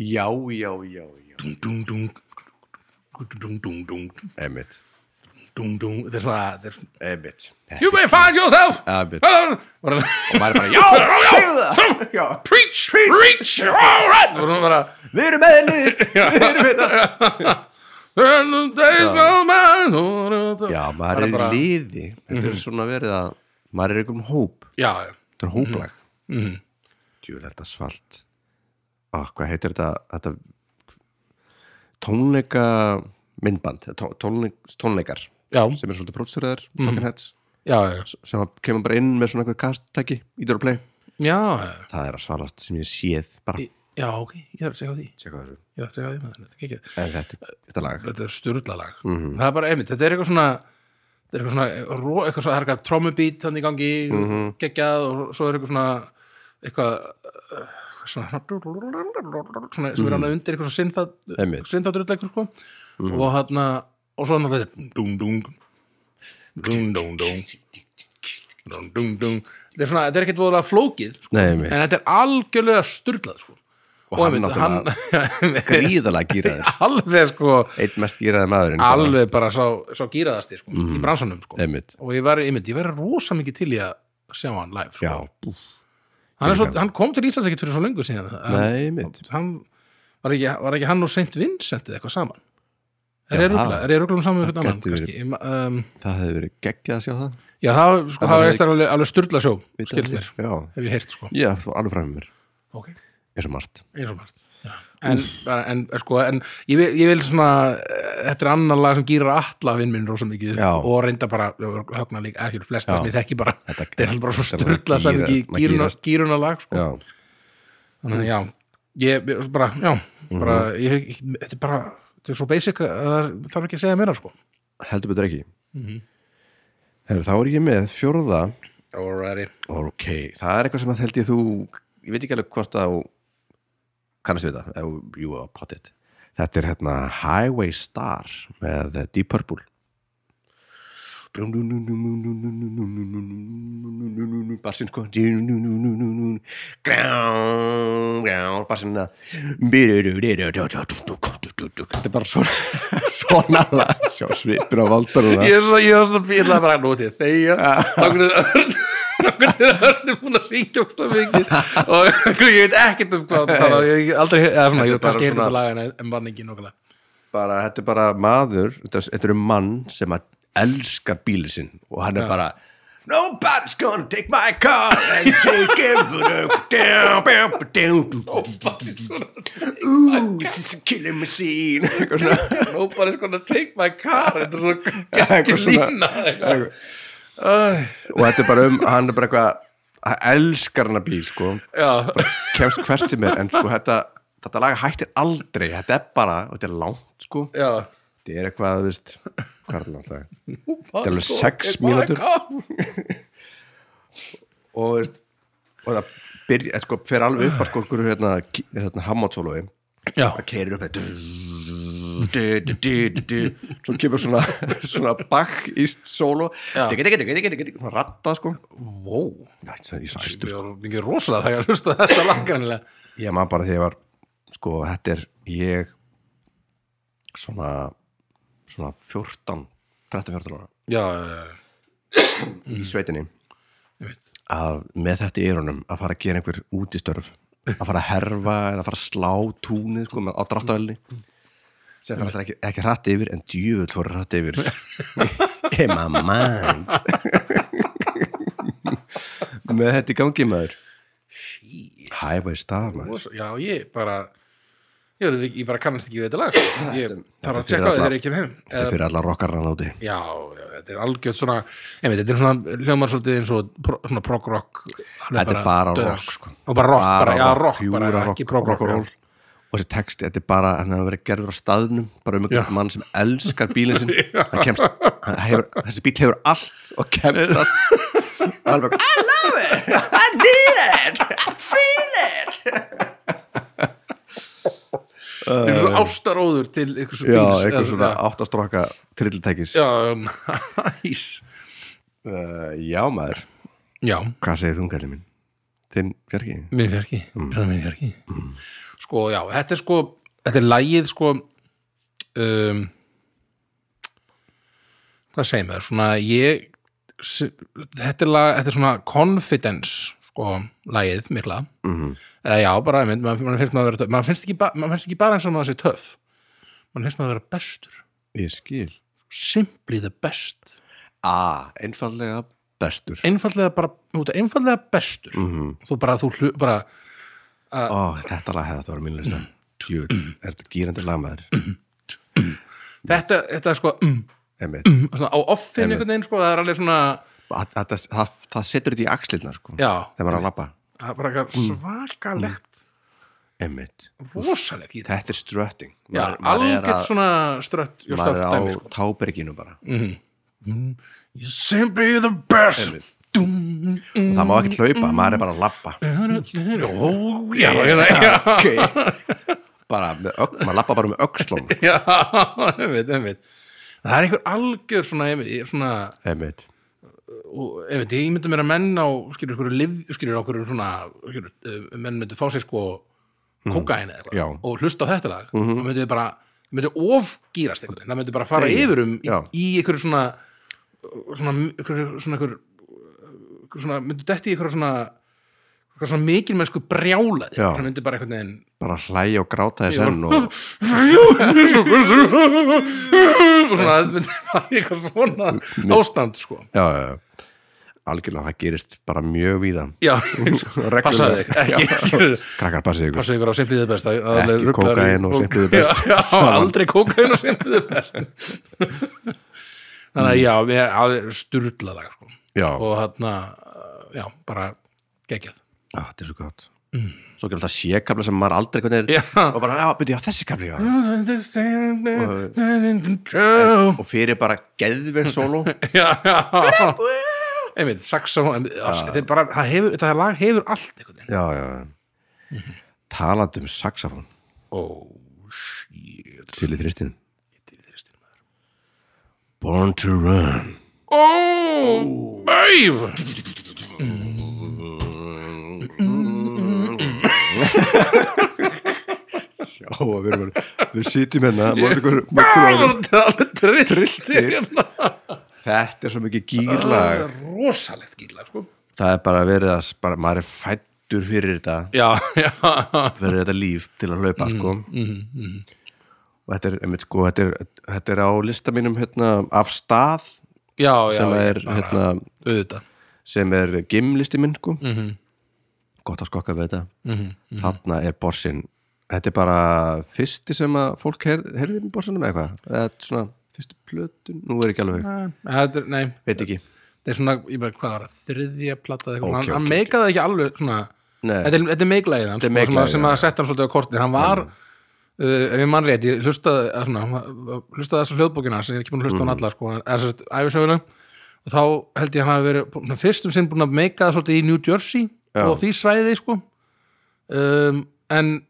[SPEAKER 1] já, já, já, já.
[SPEAKER 2] dung, dung, dung, dung, dung, dung,
[SPEAKER 1] Einmitt,
[SPEAKER 2] dung, dung. Þetta er svona þetta er svona-
[SPEAKER 1] einmitt
[SPEAKER 2] You may find yourself
[SPEAKER 1] Einmitt,
[SPEAKER 2] Bara-
[SPEAKER 1] maður er bara, já,
[SPEAKER 2] Já, já, Preach, preach All right Það var svona bara
[SPEAKER 1] við erum meðinni Við erum meðinni
[SPEAKER 2] And the days go by
[SPEAKER 1] Já,
[SPEAKER 2] Bara
[SPEAKER 1] maður er
[SPEAKER 2] bara- Mhm.
[SPEAKER 1] í liði Þetta er svona verið að maður er í einhverjum hóp
[SPEAKER 2] Já, já.
[SPEAKER 1] Þetta er hóplag
[SPEAKER 2] Mhm.
[SPEAKER 1] Jú, þetta er svalt Á, hvað heitir þetta, þetta tónleika myndband eða tó- tónleik, tónleikar
[SPEAKER 2] já,
[SPEAKER 1] sem er svolítið prótsverðar
[SPEAKER 2] Mhm.
[SPEAKER 1] Talking Heads
[SPEAKER 2] já, já,
[SPEAKER 1] sem að kemur bara inn með svona einhver kasttæki ídur og play
[SPEAKER 2] já, já,
[SPEAKER 1] Það er að svalast sem ég séð bara
[SPEAKER 2] já, ok, ég þarf að segja á því,
[SPEAKER 1] tjekka þessu
[SPEAKER 2] ég þarf að segja á því maður, þetta er ekki
[SPEAKER 1] En þetta, þetta lag
[SPEAKER 2] þetta er styrlalag mm
[SPEAKER 1] Mhm.
[SPEAKER 2] -hmm. það er bara einmitt, þetta er eitthvað svona þetta er eitthvað svona, ro- eitthvað svona, það er eitthvað trommubít þannig í gangi,
[SPEAKER 1] Mhm.
[SPEAKER 2] geggjað og svo er eitthvað svona eitthvað uh, eitthvað svona, svona sem er annað undir eitthvað svona
[SPEAKER 1] Mhm. Einmitt. Mhm.
[SPEAKER 2] syntadrull eitthvað sko og hann og svo náttúrulega þetta dung dung dung dung dung dung dung dung þetta er svona, þetta er ekkert voðalega flókið sko.
[SPEAKER 1] Nei, mér,
[SPEAKER 2] en þetta er algjörlega styrlað sko.
[SPEAKER 1] og hann
[SPEAKER 2] einmitt,
[SPEAKER 1] náttúrulega gríðalega gýraður
[SPEAKER 2] alveg sko
[SPEAKER 1] Eitt mest gýraði maðurinn bara.
[SPEAKER 2] alveg bara sá, sá gýraðasti sko,
[SPEAKER 1] Mm.
[SPEAKER 2] í bransanum sko.
[SPEAKER 1] Einmitt.
[SPEAKER 2] og ég var, einmitt, ég var rosa mikið til í að sjá hann live sko.
[SPEAKER 1] Já,
[SPEAKER 2] hann, er svo,
[SPEAKER 1] líka.
[SPEAKER 2] hann kom til Íslands ekkit fyrir svo lengu síðan hann,
[SPEAKER 1] nei, mitt
[SPEAKER 2] hann, var, ekki, var ekki hann og Saint Vincent eða eitthvað saman er
[SPEAKER 1] Já.
[SPEAKER 2] ég rugla- er ég ruglum saman
[SPEAKER 1] Það
[SPEAKER 2] við eitthvað annan
[SPEAKER 1] gæti verið.
[SPEAKER 2] kannski? Ég ma- um,
[SPEAKER 1] Það hefði verið geggjað að sjá það
[SPEAKER 2] já það, sko,
[SPEAKER 1] Það
[SPEAKER 2] það
[SPEAKER 1] hefði-
[SPEAKER 2] er eftir alveg, alveg styrla sjó
[SPEAKER 1] Vitað
[SPEAKER 2] skilst mér,
[SPEAKER 1] þér. Já,
[SPEAKER 2] hef ég heyrt sko.
[SPEAKER 1] já þú alveg fram með mér
[SPEAKER 2] okay.
[SPEAKER 1] eins og margt
[SPEAKER 2] eins og margt Já. en, bara, en, sko, en ég, vil, ég vil svona eh, þetta er annan lag sem gýrar alla vinn minn rosa mikið
[SPEAKER 1] Já.
[SPEAKER 2] og reynda bara högna líka, ekki flesta sem ég þekki bara
[SPEAKER 1] Þetta-
[SPEAKER 2] þetta er alltaf bara svo
[SPEAKER 1] þetta bara
[SPEAKER 2] styrla sem
[SPEAKER 1] gíra- maður gírast.
[SPEAKER 2] gýruna lag sko.
[SPEAKER 1] Já,
[SPEAKER 2] þannig að já ég ég- bara, já
[SPEAKER 1] Mhm.
[SPEAKER 2] bara, ég, ég, þetta er bara, þetta er svo basic að það er- þarf ekki að segja meira sko
[SPEAKER 1] heldur betur ekki Herru, þá er ég með fjórða
[SPEAKER 2] alrighty,
[SPEAKER 1] Ok, það er eitthvað sem að held ég þú ég veit ekki alveg hvort að þú kannast við það, ef jú að potið Þetta er hérna Highway Star með Deep Purple Barsinn sko Barsinn að þetta er bara svona svona lag sjá svipin á valdar núna
[SPEAKER 2] ég er svona, ég er svona, ég ætlaði bara að núti þegar, þannig að Örn þannig að Örn er búin að syngja okkur mikið og ég veit ekkert um hvað það var, ég hef aldrei, eða svona, ég
[SPEAKER 1] Þetta er
[SPEAKER 2] veit
[SPEAKER 1] bara
[SPEAKER 2] kannski heyrði þetta
[SPEAKER 1] svona-
[SPEAKER 2] laga en- en mann ekki nokkulega
[SPEAKER 1] bara, þetta er bara maður þetta er- þetta er um mann sem að elskar bílið sinn og hann er bara Nobody's gonna take my car and take it Ooh, this is a killing machine Eitthvað svona
[SPEAKER 2] Nobody's gonna sko take my car þetta er svo
[SPEAKER 1] Eitthvað
[SPEAKER 2] ekki
[SPEAKER 1] svona-
[SPEAKER 2] lína eitthvað.
[SPEAKER 1] Eitthvað. og þetta er bara um, hann er bara eitthvað hann elskar hann að bíl sko
[SPEAKER 2] Já,
[SPEAKER 1] kemst hvert sem er, en sko þetta þetta laga hættir aldrei, þetta er bara og þetta er langt sko
[SPEAKER 2] já
[SPEAKER 1] þetta er eitthvað, þú veist, hvað er þetta langt lag?
[SPEAKER 2] Þetta
[SPEAKER 1] alveg sex mínútur. og, veist, og það byrja, eh, sko, fer alveg upp að sko okkur hérna, ki- hérna hammatsólói
[SPEAKER 2] Já,
[SPEAKER 1] það keirir upp þetta svo kemur svona svona bakk íst sóló
[SPEAKER 2] Já.
[SPEAKER 1] svona ratta sko
[SPEAKER 2] wow
[SPEAKER 1] Næ, það er í
[SPEAKER 2] Ég
[SPEAKER 1] sæstu, sko.
[SPEAKER 2] var mikið rosalega þegar að hlusta á þetta laggranilega
[SPEAKER 1] ég maður bara þegar ég var sko þetta er ég svona svona 14 13-14 ára
[SPEAKER 2] Já, já, já.
[SPEAKER 1] í sveitinni
[SPEAKER 2] Ég veit.
[SPEAKER 1] að með þetta í eyrunum að fara að gera einhver útistörf að fara að herfa eða að fara að slá túnið sko, með- á dráttuvelni sem það er alltaf ekki, ekki hratt yfir en djöfull voru hratt yfir in my mind með þetta í gangi maður highway star maður
[SPEAKER 2] Rosa- Já, ég bara ég, er, ég bara kannast ekki við þetta lag sko. ég
[SPEAKER 1] þetta
[SPEAKER 2] þarf
[SPEAKER 1] fyrir
[SPEAKER 2] að tjekka á því
[SPEAKER 1] alla-
[SPEAKER 2] þegar ég kem heim
[SPEAKER 1] þetta er
[SPEAKER 2] Eða-
[SPEAKER 1] fyrir alla rockarna þarna úti
[SPEAKER 2] Já, já, þetta er algjörð svona ég veit, þetta er svona hljómar svolítið eins og pro, svona prog-rock
[SPEAKER 1] Þetta er bara rock, sko.
[SPEAKER 2] og bara rock, bara, já, rock,
[SPEAKER 1] pjúra
[SPEAKER 2] bara,
[SPEAKER 1] rock,
[SPEAKER 2] ekki
[SPEAKER 1] rock and roll.
[SPEAKER 2] prog-rock
[SPEAKER 1] og þessi text, þetta er bara hann hefur verið gerður á staðnum, bara um
[SPEAKER 2] Já.
[SPEAKER 1] einhvern mann sem elskar bílinn sinn hann kemst, hann hefur, þessi bíl hefur allt og kemst allt og alveg, I love it, I need it I feel it
[SPEAKER 2] þetta er svona ástaróður til eitthvað
[SPEAKER 1] Eh. já,
[SPEAKER 2] svona bíls
[SPEAKER 1] einhver
[SPEAKER 2] eða-
[SPEAKER 1] svona áttastróka trilltækis já.
[SPEAKER 2] já, um, já, næs
[SPEAKER 1] Uh, já maður,
[SPEAKER 2] já,
[SPEAKER 1] hvað segir þú kallið minn? þinn fjarki?
[SPEAKER 2] minn fjarki
[SPEAKER 1] Mm.
[SPEAKER 2] já, minn fjarki sko, já, þetta er sko þetta er lagið sko um, hvað segir maður, svona ég se- þetta er, lag, þetta er svona confidence sko, lagið mikla
[SPEAKER 1] Mm -hmm.
[SPEAKER 2] eða já, bara einmitt, mann man finnst maður að vera töff mann finnst ekki, ba man finnst ekki bara eins og maður sé töff mann finnst maður að vera bestur
[SPEAKER 1] ég skil
[SPEAKER 2] simply the best
[SPEAKER 1] a, einfallega bestur
[SPEAKER 2] einfallega bara, þú veit, einfallega bestur
[SPEAKER 1] mm -hmm.
[SPEAKER 2] þú bara, þú hlu, bara
[SPEAKER 1] Ó, þetta lag hefði þetta var mínlega stund Tjúl, er þetta gýrandi lagmaður?
[SPEAKER 2] þetta, þetta er sko mm,
[SPEAKER 1] Einmitt.
[SPEAKER 2] svona, á offin einhvern veginn, sko, það er alveg svona
[SPEAKER 1] Að- að- að- Það það setur þetta í axlirnar sko
[SPEAKER 2] já,
[SPEAKER 1] Þegar maður er að labba
[SPEAKER 2] það er bara eitthvað
[SPEAKER 1] Mm.
[SPEAKER 2] svakalegt
[SPEAKER 1] Einmitt.
[SPEAKER 2] rosalegt í þetta
[SPEAKER 1] Þetta er strötting
[SPEAKER 2] já,
[SPEAKER 1] Maður- maður er
[SPEAKER 2] algjört
[SPEAKER 1] að-
[SPEAKER 2] svona strött just
[SPEAKER 1] Maður
[SPEAKER 2] af
[SPEAKER 1] er á
[SPEAKER 2] dæmi, sko
[SPEAKER 1] táberginu bara
[SPEAKER 2] You simply the best Dum,
[SPEAKER 1] Og Það má ekkert hlaupa, maður er bara að labba
[SPEAKER 2] Ó, já, já, já
[SPEAKER 1] Bara með ögn, maður labba bara með öxlum
[SPEAKER 2] Já, einmitt, einmitt Það er einhver algjör svona, einmitt, ég- svona
[SPEAKER 1] Einmitt
[SPEAKER 2] og, einmitt, ég myndi mér að menn á skilur okkur, liv, skilur okkur um svona skilur, eh, menn myndi fá sér sko kókaini eða
[SPEAKER 1] Mhm. Já. Mhm.
[SPEAKER 2] eitthvað og hlusta á þetta lag mm -hmm. myndi þau bara, myndi ofgýrast einhvern veginn, það myndi bara fara
[SPEAKER 1] Þegja.
[SPEAKER 2] yfir um í,
[SPEAKER 1] Já.
[SPEAKER 2] í einhverju svona svona, einhverju svona einhverju einhverju svona, myndi detti í einhverju svona einhverju svona mikilmennsku brjálaði
[SPEAKER 1] Já.
[SPEAKER 2] svona myndi bara einhvern veginn
[SPEAKER 1] Bara hlæja og gráta þess enn og
[SPEAKER 2] og svona, þetta myndi bara eitthvað svona ástand sko
[SPEAKER 1] Já, já, já Algjörlega, það gerist bara mjög víða
[SPEAKER 2] já,
[SPEAKER 1] Reglulega.
[SPEAKER 2] passaði þig ekki, skilur
[SPEAKER 1] Krakkar, passið ykkur
[SPEAKER 2] passaði ykkur á simpliðið best það- það er
[SPEAKER 1] Ekki
[SPEAKER 2] alveg ruglaður í-
[SPEAKER 1] kókaín og Simply the Best.
[SPEAKER 2] já, já, aldrei kókain og simpliðið best þannig að já, við erum alveg sturlað lag, sko.
[SPEAKER 1] Já,
[SPEAKER 2] og þarna, eh, já, bara geggjað
[SPEAKER 1] Á, þetta er svo gott Svo gerist það sékabla sem maður aldrei hvernig er
[SPEAKER 2] já Mm.
[SPEAKER 1] Og bara, já, byrja, þessi kabli, já
[SPEAKER 2] já,
[SPEAKER 1] Og fyrir bara geðveg sóló
[SPEAKER 2] já einmitt, saxofón einmitt,
[SPEAKER 1] Ah.
[SPEAKER 2] þetta er bara, það hefur, þetta lag hefur allt einhvern veginn
[SPEAKER 1] já, já talandi um saxofón
[SPEAKER 2] Oh shit
[SPEAKER 1] til í þristin
[SPEAKER 2] maður
[SPEAKER 1] Born to Run
[SPEAKER 2] Oh, babe
[SPEAKER 1] Já, og við, erum, bara- við sitjum hérna mörgum ykkur mörgum árum.
[SPEAKER 2] alveg
[SPEAKER 1] Trylltir.
[SPEAKER 2] trilltir hérna.
[SPEAKER 1] Þetta er svo mikið
[SPEAKER 2] Það
[SPEAKER 1] gýrlag
[SPEAKER 2] er rosalegt gíla sko.
[SPEAKER 1] Það er bara verið að bara, maður er fættur fyrir þetta
[SPEAKER 2] já, já, Mhm,
[SPEAKER 1] fyrir þetta líf til að hlaupa sko. og þetta er, einmitt, sko, þetta, er, þetta er á lista mínum hérna, af stað
[SPEAKER 2] já, já
[SPEAKER 1] sem
[SPEAKER 2] ég
[SPEAKER 1] er,
[SPEAKER 2] bara-
[SPEAKER 1] hérna,
[SPEAKER 2] auðvitað
[SPEAKER 1] sem er gimlisti minn sko. gott að skokka við þetta Mhm. þarna er borsin þetta er bara fyrsti sem að fólk her, herði með borsinum eða eitthvað eða þetta er svona fyrstu plötun nú er ekki alveg,
[SPEAKER 2] Nei, þetta er, nei,
[SPEAKER 1] veit ekki
[SPEAKER 2] þetta er svona, ég bara, hvað var það, þriðja platta, okay,
[SPEAKER 1] Ok,
[SPEAKER 2] hann, hann
[SPEAKER 1] ok,
[SPEAKER 2] meikaði ekki alveg svona,
[SPEAKER 1] Nei.
[SPEAKER 2] þetta er, þetta er meiklagið hans,
[SPEAKER 1] Eh. Þetta er
[SPEAKER 2] sko, svona,
[SPEAKER 1] meiklagið,
[SPEAKER 2] sem
[SPEAKER 1] já. Mm.
[SPEAKER 2] að setja hann svolítið á kortið, hann var uh, ef ég mann rétt, ég hlustaði að svona, hann- hlustaði þessa hljóðbókina sem ég er ekki búin að hlusta á
[SPEAKER 1] Mm.
[SPEAKER 2] hann alla, sko, er sérst æfisöguna, og þá held ég að hann hafi verið búinn- svona, fyrst um sinn búin að meikaða svolítið í New Jersey
[SPEAKER 1] Já.
[SPEAKER 2] og því svæði, sko um, en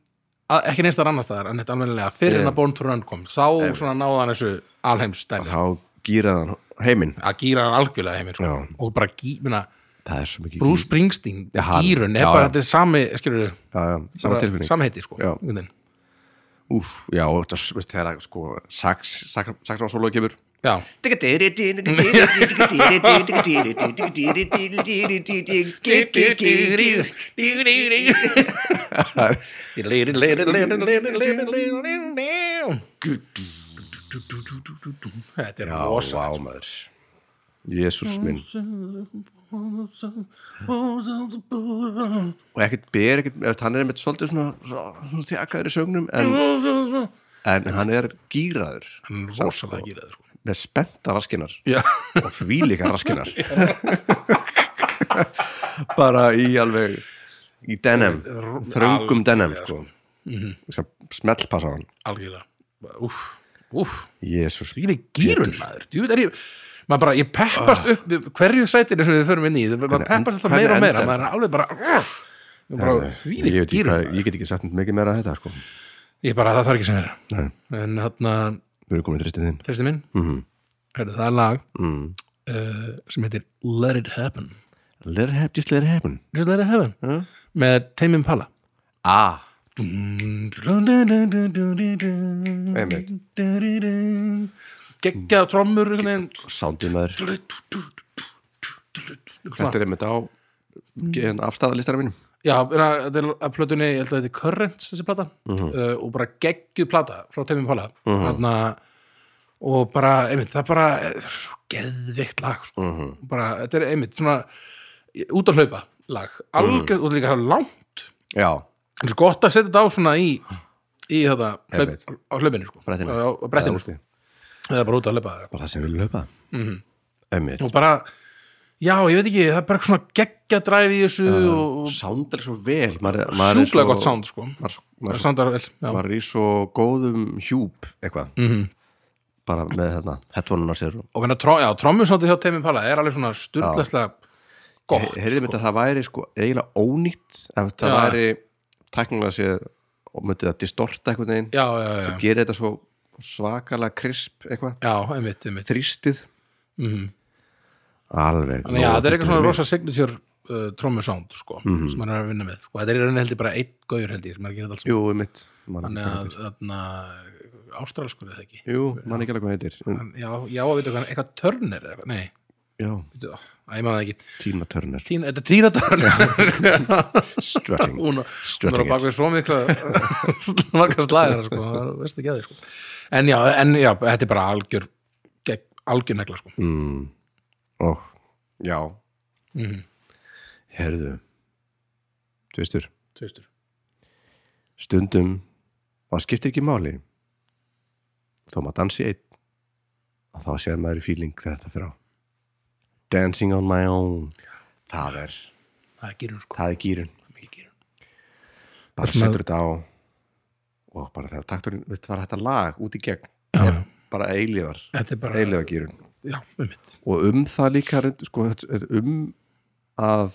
[SPEAKER 2] að, ekki neistar annars staðar, en þetta alveglega fyrir
[SPEAKER 1] Nei.
[SPEAKER 2] en að Born to Run kom, þá svona náða hann þessu alheimsdæmi,
[SPEAKER 1] þá gýraðan heiminn
[SPEAKER 2] að gýra hann algjörlega heiminn sko.
[SPEAKER 1] Já.
[SPEAKER 2] og bara gýra,
[SPEAKER 1] það er svo mikið
[SPEAKER 2] Bruce Springsteen
[SPEAKER 1] Já, hann-
[SPEAKER 2] gýrun er
[SPEAKER 1] já,
[SPEAKER 2] bara
[SPEAKER 1] já.
[SPEAKER 2] þetta er sami, skilur
[SPEAKER 1] já, já, sama tilfinning
[SPEAKER 2] samheiti sko
[SPEAKER 1] Já.
[SPEAKER 2] einhvern veginn.
[SPEAKER 1] Úf, já, og þetta s- veist, þegar að, sko, sax, sax, sax á solo kemur
[SPEAKER 2] já, þetta er sko.
[SPEAKER 1] Já,
[SPEAKER 2] rosa
[SPEAKER 1] vá, maður Jésús minn Og ekkert ber, ekkert, eftir, hann er einmitt svolítið svona, svona, svona þjakaður í sögnum en, en hann er gýraður
[SPEAKER 2] Hann er rosalega gýraður sko
[SPEAKER 1] með spennta raskinar
[SPEAKER 2] já,
[SPEAKER 1] og þvílíka raskinar bara í alveg í denim, þröngum denim sko. sem smellpassa á hann
[SPEAKER 2] algjörlega úf, úf
[SPEAKER 1] Jésús
[SPEAKER 2] Ég er gýrun maður Djúvill er ég maður bara, ég peppast upp við hverju sætinu sem við förum inn í það-
[SPEAKER 1] Ah.
[SPEAKER 2] maður
[SPEAKER 1] Hvernig end-
[SPEAKER 2] peppast alltaf meira og
[SPEAKER 1] hvernig endar?
[SPEAKER 2] meira
[SPEAKER 1] Eh,
[SPEAKER 2] maður er alveg bara, uh, bara því
[SPEAKER 1] ég,
[SPEAKER 2] lík
[SPEAKER 1] veit ekki
[SPEAKER 2] gýrun
[SPEAKER 1] hvað- ég get ekki sagt mikið meira að þetta sko.
[SPEAKER 2] ég bara, það þarf ekki sem vera
[SPEAKER 1] Nei,
[SPEAKER 2] en þarna,
[SPEAKER 1] við erum komin tristið þinn
[SPEAKER 2] þérstu minn
[SPEAKER 1] Mhm.
[SPEAKER 2] Heyrðu, það er lag
[SPEAKER 1] mm.
[SPEAKER 2] uh, sem heitir Let It Happen
[SPEAKER 1] Let it happen, just let it happen
[SPEAKER 2] Just Let It Happen
[SPEAKER 1] Hm?
[SPEAKER 2] með Tame Impala
[SPEAKER 1] ah.
[SPEAKER 2] geggja trommur einhvern veginn.
[SPEAKER 1] Sándið maður
[SPEAKER 2] Svona.
[SPEAKER 1] Þetta er einmitt á mm. afstæðalistara mínum
[SPEAKER 2] Já, er að- þetta er að plötunni, ég held að þetta er Currents þessi plata
[SPEAKER 1] Mhm.
[SPEAKER 2] uh, og bara geggjuð plata frá Temi Pála mm og bara, einmitt, það er bara það er svo geðveikt lag sko.
[SPEAKER 1] Mhm.
[SPEAKER 2] bara, þetta er einmitt, svona út að hlaupa lag, algjörð
[SPEAKER 1] Mhm.
[SPEAKER 2] og líka það er langt,
[SPEAKER 1] Já,
[SPEAKER 2] en svo gott að setja þetta á svona í, í þetta hlaup,
[SPEAKER 1] Einmitt.
[SPEAKER 2] á hlaupinu, sko
[SPEAKER 1] Brettinu.
[SPEAKER 2] á, á brettinu,
[SPEAKER 1] Eða
[SPEAKER 2] sko,
[SPEAKER 1] úti.
[SPEAKER 2] eða bara út að hlaupa eða
[SPEAKER 1] bara það sem við löpa
[SPEAKER 2] Mhm.
[SPEAKER 1] Einmitt
[SPEAKER 2] og bara, já, ég veit ekki það er bara eitthvað svona geggja dræfi í þessu og, og
[SPEAKER 1] Sound er svo vel maður, er- maður er
[SPEAKER 2] sjúklega
[SPEAKER 1] svo-
[SPEAKER 2] gott sound, sko
[SPEAKER 1] maður,
[SPEAKER 2] Það
[SPEAKER 1] maður,
[SPEAKER 2] soundar vel, já.
[SPEAKER 1] maður er í svo góðum hjúp eitthvað
[SPEAKER 2] Mhm.
[SPEAKER 1] bara með þetta headphone á sér
[SPEAKER 2] og hérna tró, já, trommusáttið hjá Temi Pala er alveg svona styrleslega gott
[SPEAKER 1] heyrðum þetta að það væri sko eiginlega ónýtt ef það
[SPEAKER 2] Já.
[SPEAKER 1] væri tæknilega séð og myndið að distorta eitthvað neginn
[SPEAKER 2] já, já, já,
[SPEAKER 1] gera þetta svo svakalega krisp eitthvað,
[SPEAKER 2] já, einmitt, einmitt
[SPEAKER 1] þrýstið
[SPEAKER 2] Mhm.
[SPEAKER 1] alveg
[SPEAKER 2] þannig já,
[SPEAKER 1] nóg
[SPEAKER 2] þetta er eitthvað
[SPEAKER 1] fyrir
[SPEAKER 2] svona
[SPEAKER 1] mig.
[SPEAKER 2] rosa signature uh, trommusánd, sko,
[SPEAKER 1] Mhm.
[SPEAKER 2] sem maður er að vinna með og þetta er í rauninni heldur bara einn gaur held ég sem er að gera þetta alls
[SPEAKER 1] jú, mitt
[SPEAKER 2] þannig að, þarna, ástralskur eða ekki
[SPEAKER 1] jú, mann ekki alveg hvað heitir En-
[SPEAKER 2] Hann- já, já, að vita hvað, hann- eitthvað törnir eða eitthvað, nei,
[SPEAKER 1] já,
[SPEAKER 2] veitu það, að ég maður það ekki
[SPEAKER 1] Tina Turner
[SPEAKER 2] Tín, þetta er tína törnir
[SPEAKER 1] strutting
[SPEAKER 2] hún, hún er á
[SPEAKER 1] Strutting
[SPEAKER 2] bakvið svo mikla margar slæðina sko, það veist ekki að því sko. en, já, en já, þetta er bara algjör gegn, algjör negla sko.
[SPEAKER 1] mm. og já,
[SPEAKER 2] mm.
[SPEAKER 1] herðu þú veistur
[SPEAKER 2] Tvistur.
[SPEAKER 1] stundum og það skiptir ekki máli þó maður dansi einn og þá sér maður í feeling hvað þetta fyrir á dancing on my own það er,
[SPEAKER 2] það er gýrun sko.
[SPEAKER 1] það er gýrun
[SPEAKER 2] mikið gírun.
[SPEAKER 1] bara
[SPEAKER 2] sem að-
[SPEAKER 1] setur þetta á og bara þegar takturinn, veist, var þetta lag út í gegn
[SPEAKER 2] já,
[SPEAKER 1] bara eilíðar,
[SPEAKER 2] þetta er bara
[SPEAKER 1] eilíðar gýrun
[SPEAKER 2] já, um mitt
[SPEAKER 1] og um það líka reynd- sko, þetta- þetta um að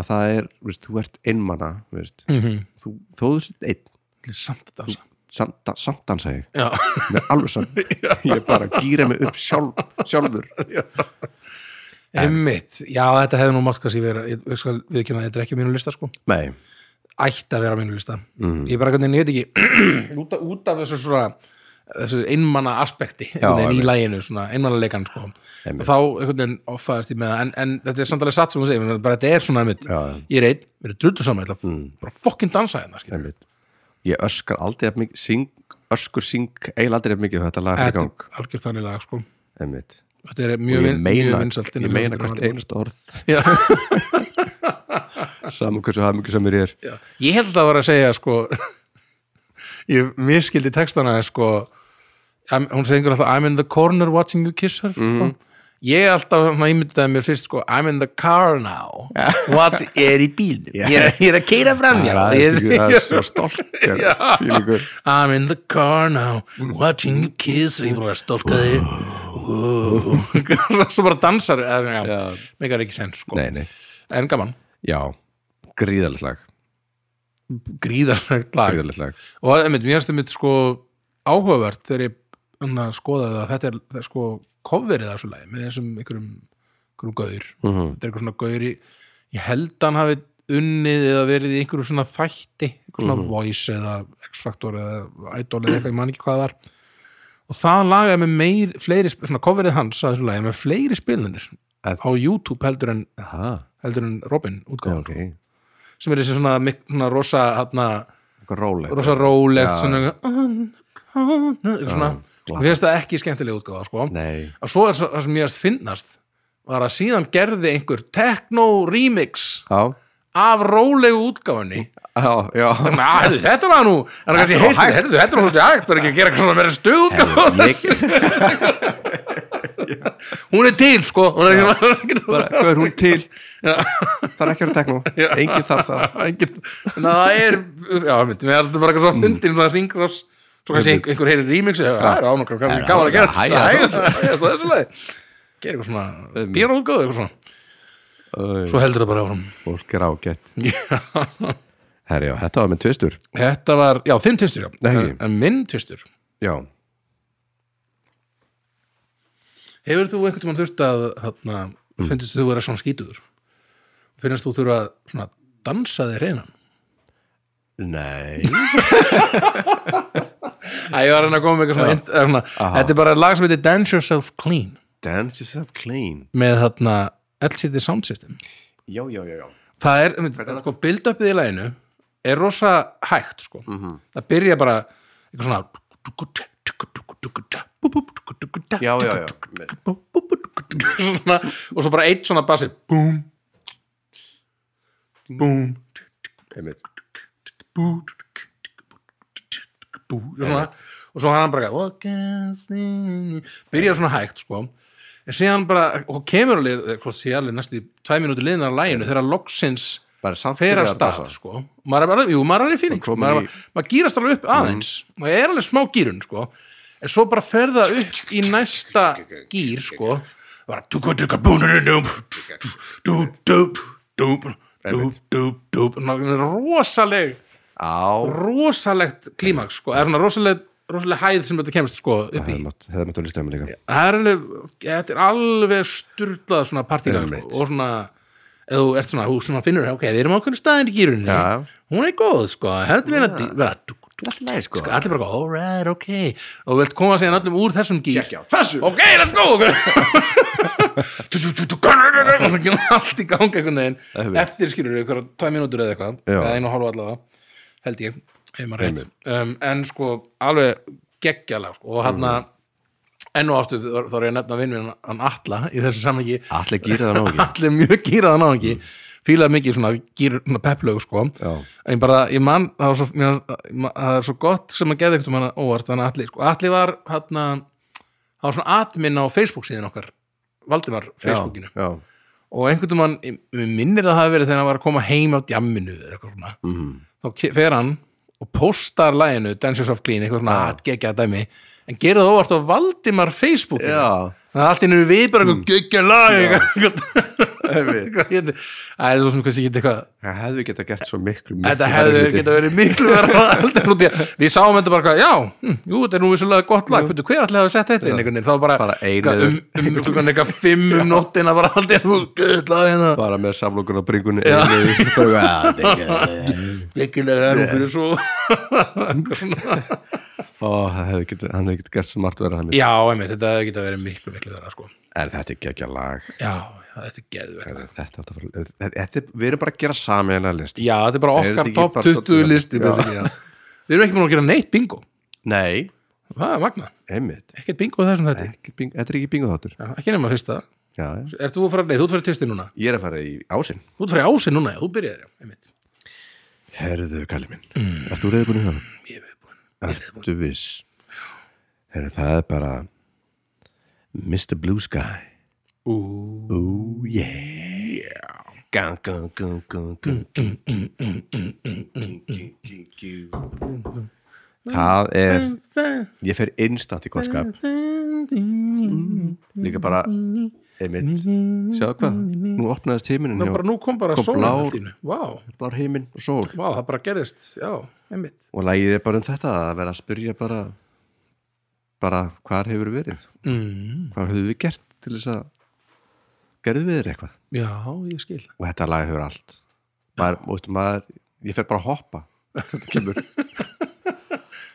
[SPEAKER 1] að það er, veist, þú ert einmana veist,
[SPEAKER 2] mm -hmm.
[SPEAKER 1] þú, þó þú sitt einn
[SPEAKER 2] samt að dansa
[SPEAKER 1] samt, da- samt dansa ég
[SPEAKER 2] já,
[SPEAKER 1] með alveg samt, ég bara gýra mig upp sjálf, sjálfur
[SPEAKER 2] um mitt já, þetta hefði nú mátt kannski vera ég, ég skal, við kynna þetta er ekki á mínu lista sko.
[SPEAKER 1] nei,
[SPEAKER 2] ætti að vera á mínum lista
[SPEAKER 1] Mm.
[SPEAKER 2] ég bara hvernig nefndi ekki út, af- út af þessu svona þessu einmanna aspekti einhvern veginn í
[SPEAKER 1] einmitt.
[SPEAKER 2] læginu, svona einmanna leikan sko.
[SPEAKER 1] Einmitt.
[SPEAKER 2] og þá einhvern veginn offaðast ég með það en, en þetta er samt alveg satt sem hún segir menn bara þetta er svona einmitt,
[SPEAKER 1] Já, já.
[SPEAKER 2] ég er einn, mér er drullu saman ég ætla mm. bara fokkin dansa hérna skilur.
[SPEAKER 1] einmitt. ég öskar aldrei að mikið syng, öskur syng eiginlega aldrei að mikið þegar þetta lag er í
[SPEAKER 2] þetta
[SPEAKER 1] gang
[SPEAKER 2] er algjört þannig lag sko.
[SPEAKER 1] einmitt.
[SPEAKER 2] þetta er
[SPEAKER 1] og
[SPEAKER 2] mjög,
[SPEAKER 1] ég
[SPEAKER 2] vin- mjög
[SPEAKER 1] meina,
[SPEAKER 2] vinsalt
[SPEAKER 1] ég
[SPEAKER 2] innan
[SPEAKER 1] meina
[SPEAKER 2] ljóðlistar-
[SPEAKER 1] hvert einast orð
[SPEAKER 2] Já.
[SPEAKER 1] saman hversu hamingi sem mér er
[SPEAKER 2] Já. Ég held að það var að segja sko ég miskildi textana en, sko, I'm, hún segur alltaf I'm in the corner watching you kiss her
[SPEAKER 1] Mhm.
[SPEAKER 2] sko. ég alltaf svona ímyndaði mér fyrst sko, I'm in the car now what er í bílnum ég, er, ég er að keira fram já,
[SPEAKER 1] það er,
[SPEAKER 2] ég,
[SPEAKER 1] ekki- það er svo stolt
[SPEAKER 2] Já.
[SPEAKER 1] fílingur
[SPEAKER 2] I'm in the car now watching you kiss ég er bara að stólka þig Whoa. svo bara dansar eða, já,
[SPEAKER 1] Já.
[SPEAKER 2] megar ekki sens sko.
[SPEAKER 1] nei, nei.
[SPEAKER 2] en gaman,
[SPEAKER 1] já, gríðalegt lag
[SPEAKER 2] gríðarlegt lag
[SPEAKER 1] gríðalegt lag
[SPEAKER 2] og einmitt, mér finnst einmitt sko áhugavert þegar ég svona, skoðaði að þetta er, það er sko coverið af þessu lagi með þessum einhverjum, einhverjum gaur
[SPEAKER 1] Mhm.
[SPEAKER 2] þetta er einhver svona gaur í ég held hann hafi unnið eða verið í einhverjum svona þætti einhver svona
[SPEAKER 1] Mhm.
[SPEAKER 2] voice eða X-Factor eða Idol eða eitthvað, ég man ekki hvað það var og það lagaði með meir, fleiri sp- svona coverið hans að þessu lagi með fleiri spilunir
[SPEAKER 1] Að-
[SPEAKER 2] á YouTube heldur en,
[SPEAKER 1] aha,
[SPEAKER 2] heldur en Robin
[SPEAKER 1] já,
[SPEAKER 2] útgáðan
[SPEAKER 1] ok
[SPEAKER 2] sem er þessi svona, mik- svona rosa hérna,
[SPEAKER 1] eitthvað róleg
[SPEAKER 2] rosa rólegt
[SPEAKER 1] Já.
[SPEAKER 2] svona, on, on, eitthvað svona
[SPEAKER 1] glatt.
[SPEAKER 2] og finnst það ekki skemmtileg útgáfa sko.
[SPEAKER 1] nei,
[SPEAKER 2] og svo er svo- það sem ég að finnast var að síðan gerði einhver techno remix
[SPEAKER 1] já,
[SPEAKER 2] af rólegu útgáfunni
[SPEAKER 1] já, já
[SPEAKER 2] Þannig að, heyrðu, þetta var nú það er kannski
[SPEAKER 1] Þetta var hægt.
[SPEAKER 2] heyrðu, heyrðu, þetta var hluti hægt það er ekki að gera eitthvað svona meira stuð útgáfa af þessu. hún er til sko hún er ekki
[SPEAKER 1] bara, hvað er hún til það er ekki að vera tekno,
[SPEAKER 2] Já.
[SPEAKER 1] enginn þarf það
[SPEAKER 2] Engin, na, það er já, mitt, mér er þetta bara eitthvað svo fyndin svona ringrás, svo kannski einhver, einhver heyri remixi Mm. já, það er ánokkar, kannski gaman að gera
[SPEAKER 1] hæ,
[SPEAKER 2] þetta,
[SPEAKER 1] hæ,
[SPEAKER 2] hæ, það er svo þessu leið gera eitthvað svona, býra útgöðu eitthvað svona
[SPEAKER 1] Æ,
[SPEAKER 2] svo heldur það bara áfram
[SPEAKER 1] fólk er ágætt herri, já, þetta var með tvistur
[SPEAKER 2] þetta var, já, þinn tvistur, já
[SPEAKER 1] Nei.
[SPEAKER 2] En- en minn tvistur,
[SPEAKER 1] já,
[SPEAKER 2] hefur þú einhvern tímann þurft að þarna, finnst þú vera svona skítuður finnst þú þurfa að svona dansa þig reynan
[SPEAKER 1] nei
[SPEAKER 2] Æ, ég var að reyna að koma með eitthvað svona, int- er svona þetta er bara lag sem heitir Dance Yourself Clean
[SPEAKER 1] dance yourself clean
[SPEAKER 2] með þarna LCD Sound System
[SPEAKER 1] já, já, já, já
[SPEAKER 2] það er, einmitt, sko, build-upið í læginu er rosa hægt, sko það byrja bara eitthvað svona
[SPEAKER 1] Já, já, já.
[SPEAKER 2] svona, og svo bara eitt svona basi búm búm
[SPEAKER 1] Einmitt.
[SPEAKER 2] bú, bú, og svona, og svo hann bara "What can I sing?" byrjar svona hægt sko en síðan bara, og kemur alveg eh, hvort sé alveg næstu tvæ minúti liðnar að læginu þegar loksins
[SPEAKER 1] bara samt
[SPEAKER 2] fer að
[SPEAKER 1] byrjar að
[SPEAKER 2] stað
[SPEAKER 1] dansa.
[SPEAKER 2] sko, maður er alveg, jú, maður er alveg fíling sko.
[SPEAKER 1] komin
[SPEAKER 2] maður,
[SPEAKER 1] í-
[SPEAKER 2] í... maður gýrast alveg upp aðeins maður er alveg smá gýrun sko en svo bara fer það upp í næsta gýr sko bara tuka tuka búnunum dúp dúp dúp dúp dúp dúp rosaleg
[SPEAKER 1] á,
[SPEAKER 2] rosalegt klímaks sko, eða svona rosaleg, rosaleg hæð sem þetta kemst sko upp í
[SPEAKER 1] hefði mátt- hefði mátt að lista um líka
[SPEAKER 2] það er alveg, þetta er alveg styrlað svona partílag sko,
[SPEAKER 1] Einmitt.
[SPEAKER 2] og svona, eða þú ert svona þú svona finnur, ok, við erum ákveðin staðin hérna í gýrunni
[SPEAKER 1] Já.
[SPEAKER 2] hún er góð sko, hefði við að vera dúk, dúk,
[SPEAKER 1] Allt í lagi, sko.
[SPEAKER 2] dúk, allir bara, go, all right, ok og þú vilt koma síðan öllum úr þessum gýr
[SPEAKER 1] Gekkjað. Þessu!
[SPEAKER 2] ok, let's go Tú, tú, tú, tú, allt í gangi einhvern veginn
[SPEAKER 1] Einmitt.
[SPEAKER 2] eftir skilur við einhverja tvæ mínútur eða eitthvað
[SPEAKER 1] Já.
[SPEAKER 2] eða einu og hálfa allavega, held ég ef maður reynd, um, en sko alveg geggjala sko, og hann að enn og aftur þá þá er ég að nefna vinn minn hann Atla í þessu samhengi
[SPEAKER 1] allir gýra það nógi
[SPEAKER 2] Atli er mjög gýraðan á ekki fílaði mikið svona, gýr, svona pepplög sko.
[SPEAKER 1] Mm. Já.
[SPEAKER 2] en ég bara, ég man það var svo, mér, man- það er svo gott sem að geða einhvern mann óvart, þannig að Atli sko. Atli var hann það var svona admin á Facebook síðan okkar Valdimar Facebookinu
[SPEAKER 1] já, já.
[SPEAKER 2] og einhvern mann, mér minnir að það hafi verið þegar hann var að koma heim á djamminu eða eitthvað svona
[SPEAKER 1] Mhm.
[SPEAKER 2] þá ke- fer hann og postar læginu Dance Yourself Clean, eitthvað svona að gegja dæmi en gerir það óvart á Valdimar Facebook
[SPEAKER 1] Já.
[SPEAKER 2] Mm. það er allt innur við bara eitthvað geggja lag eitthvað.
[SPEAKER 1] Einmitt.
[SPEAKER 2] Hvað hét- Það er svo sem kannski getið eitthvað
[SPEAKER 1] Það hefði geta gert svo miklu, miklu
[SPEAKER 2] Þetta hefði
[SPEAKER 1] hluti.
[SPEAKER 2] geta verið miklu verra heldur út í að- Við sáum þetta bara, eitthvað, já, hm, jú, þetta er nú vissulega gott lag Hvernig, hver ætlaði að setja þetta inn einhvern veginn Þá bara,
[SPEAKER 1] Bara ein
[SPEAKER 2] eitthvað um, um klukkan eitthvað fimm um nóttina bara aldrei að gud lag hérna
[SPEAKER 1] bara með samlokun á bringunni einu.
[SPEAKER 2] Gekkilega er hún fyrir svo
[SPEAKER 1] og það hefði geta, hann hefði geta gert svo margt verið hann
[SPEAKER 2] Já, einmitt, þetta hefði geta verið miklu, miklu verra sko
[SPEAKER 1] en þetta er ekki að lag
[SPEAKER 2] Já, þetta er geðvegt lag.
[SPEAKER 1] þetta átt að fara þetta, þetta, er- við erum bara að gera sameiginlega list
[SPEAKER 2] Já, þetta er bara
[SPEAKER 1] Er þetta
[SPEAKER 2] okkar
[SPEAKER 1] ekki
[SPEAKER 2] top
[SPEAKER 1] bara
[SPEAKER 2] 20
[SPEAKER 1] svolítið-
[SPEAKER 2] listi
[SPEAKER 1] Já.
[SPEAKER 2] basically, já. Við erum ekki múin að gera neitt bingo
[SPEAKER 1] nei,
[SPEAKER 2] Það er magnað,
[SPEAKER 1] einmitt
[SPEAKER 2] ekkert bingo í þessum þetta
[SPEAKER 1] ekki, bing, þetta er ekki bingo þáttur
[SPEAKER 2] Já, ekki nema fyrsta
[SPEAKER 1] já, já.
[SPEAKER 2] Ert þú að fara, nei, þú ert fyrir tvisti núna
[SPEAKER 1] ég er að fara í ásinn
[SPEAKER 2] Þú ert fyrir ási núna, já, þú byrjaðir, já, einmitt
[SPEAKER 1] herðu kalli minn, mm. ertu reyðbúin í það?
[SPEAKER 2] Ég er viðbúinn.
[SPEAKER 1] ertu viss herðu það er bara Mr. Blue Sky
[SPEAKER 2] Ú,
[SPEAKER 1] oh yeah gang, gang, gang, gang, gang
[SPEAKER 2] Mm.
[SPEAKER 1] það er ég fer instant í gott skap líka bara einmitt, sjáðu hvað nú opnaðist heiminin
[SPEAKER 2] Ná, bara nú kom bara
[SPEAKER 1] Kom
[SPEAKER 2] sólinn
[SPEAKER 1] blár.
[SPEAKER 2] allt í einu. Vá,
[SPEAKER 1] blár heimin og sól
[SPEAKER 2] vá, það bara gerðist, já, einmitt
[SPEAKER 1] og lægið er bara um þetta að vera að spyrja bara bara hvar hefur verið
[SPEAKER 2] mm.
[SPEAKER 1] hvað hefur við gert til þess að gerðu við þér eitthvað
[SPEAKER 2] Já, ég skil
[SPEAKER 1] og þetta lag hefur allt maður, veistu, maður, ég fer bara að hoppa þetta kemur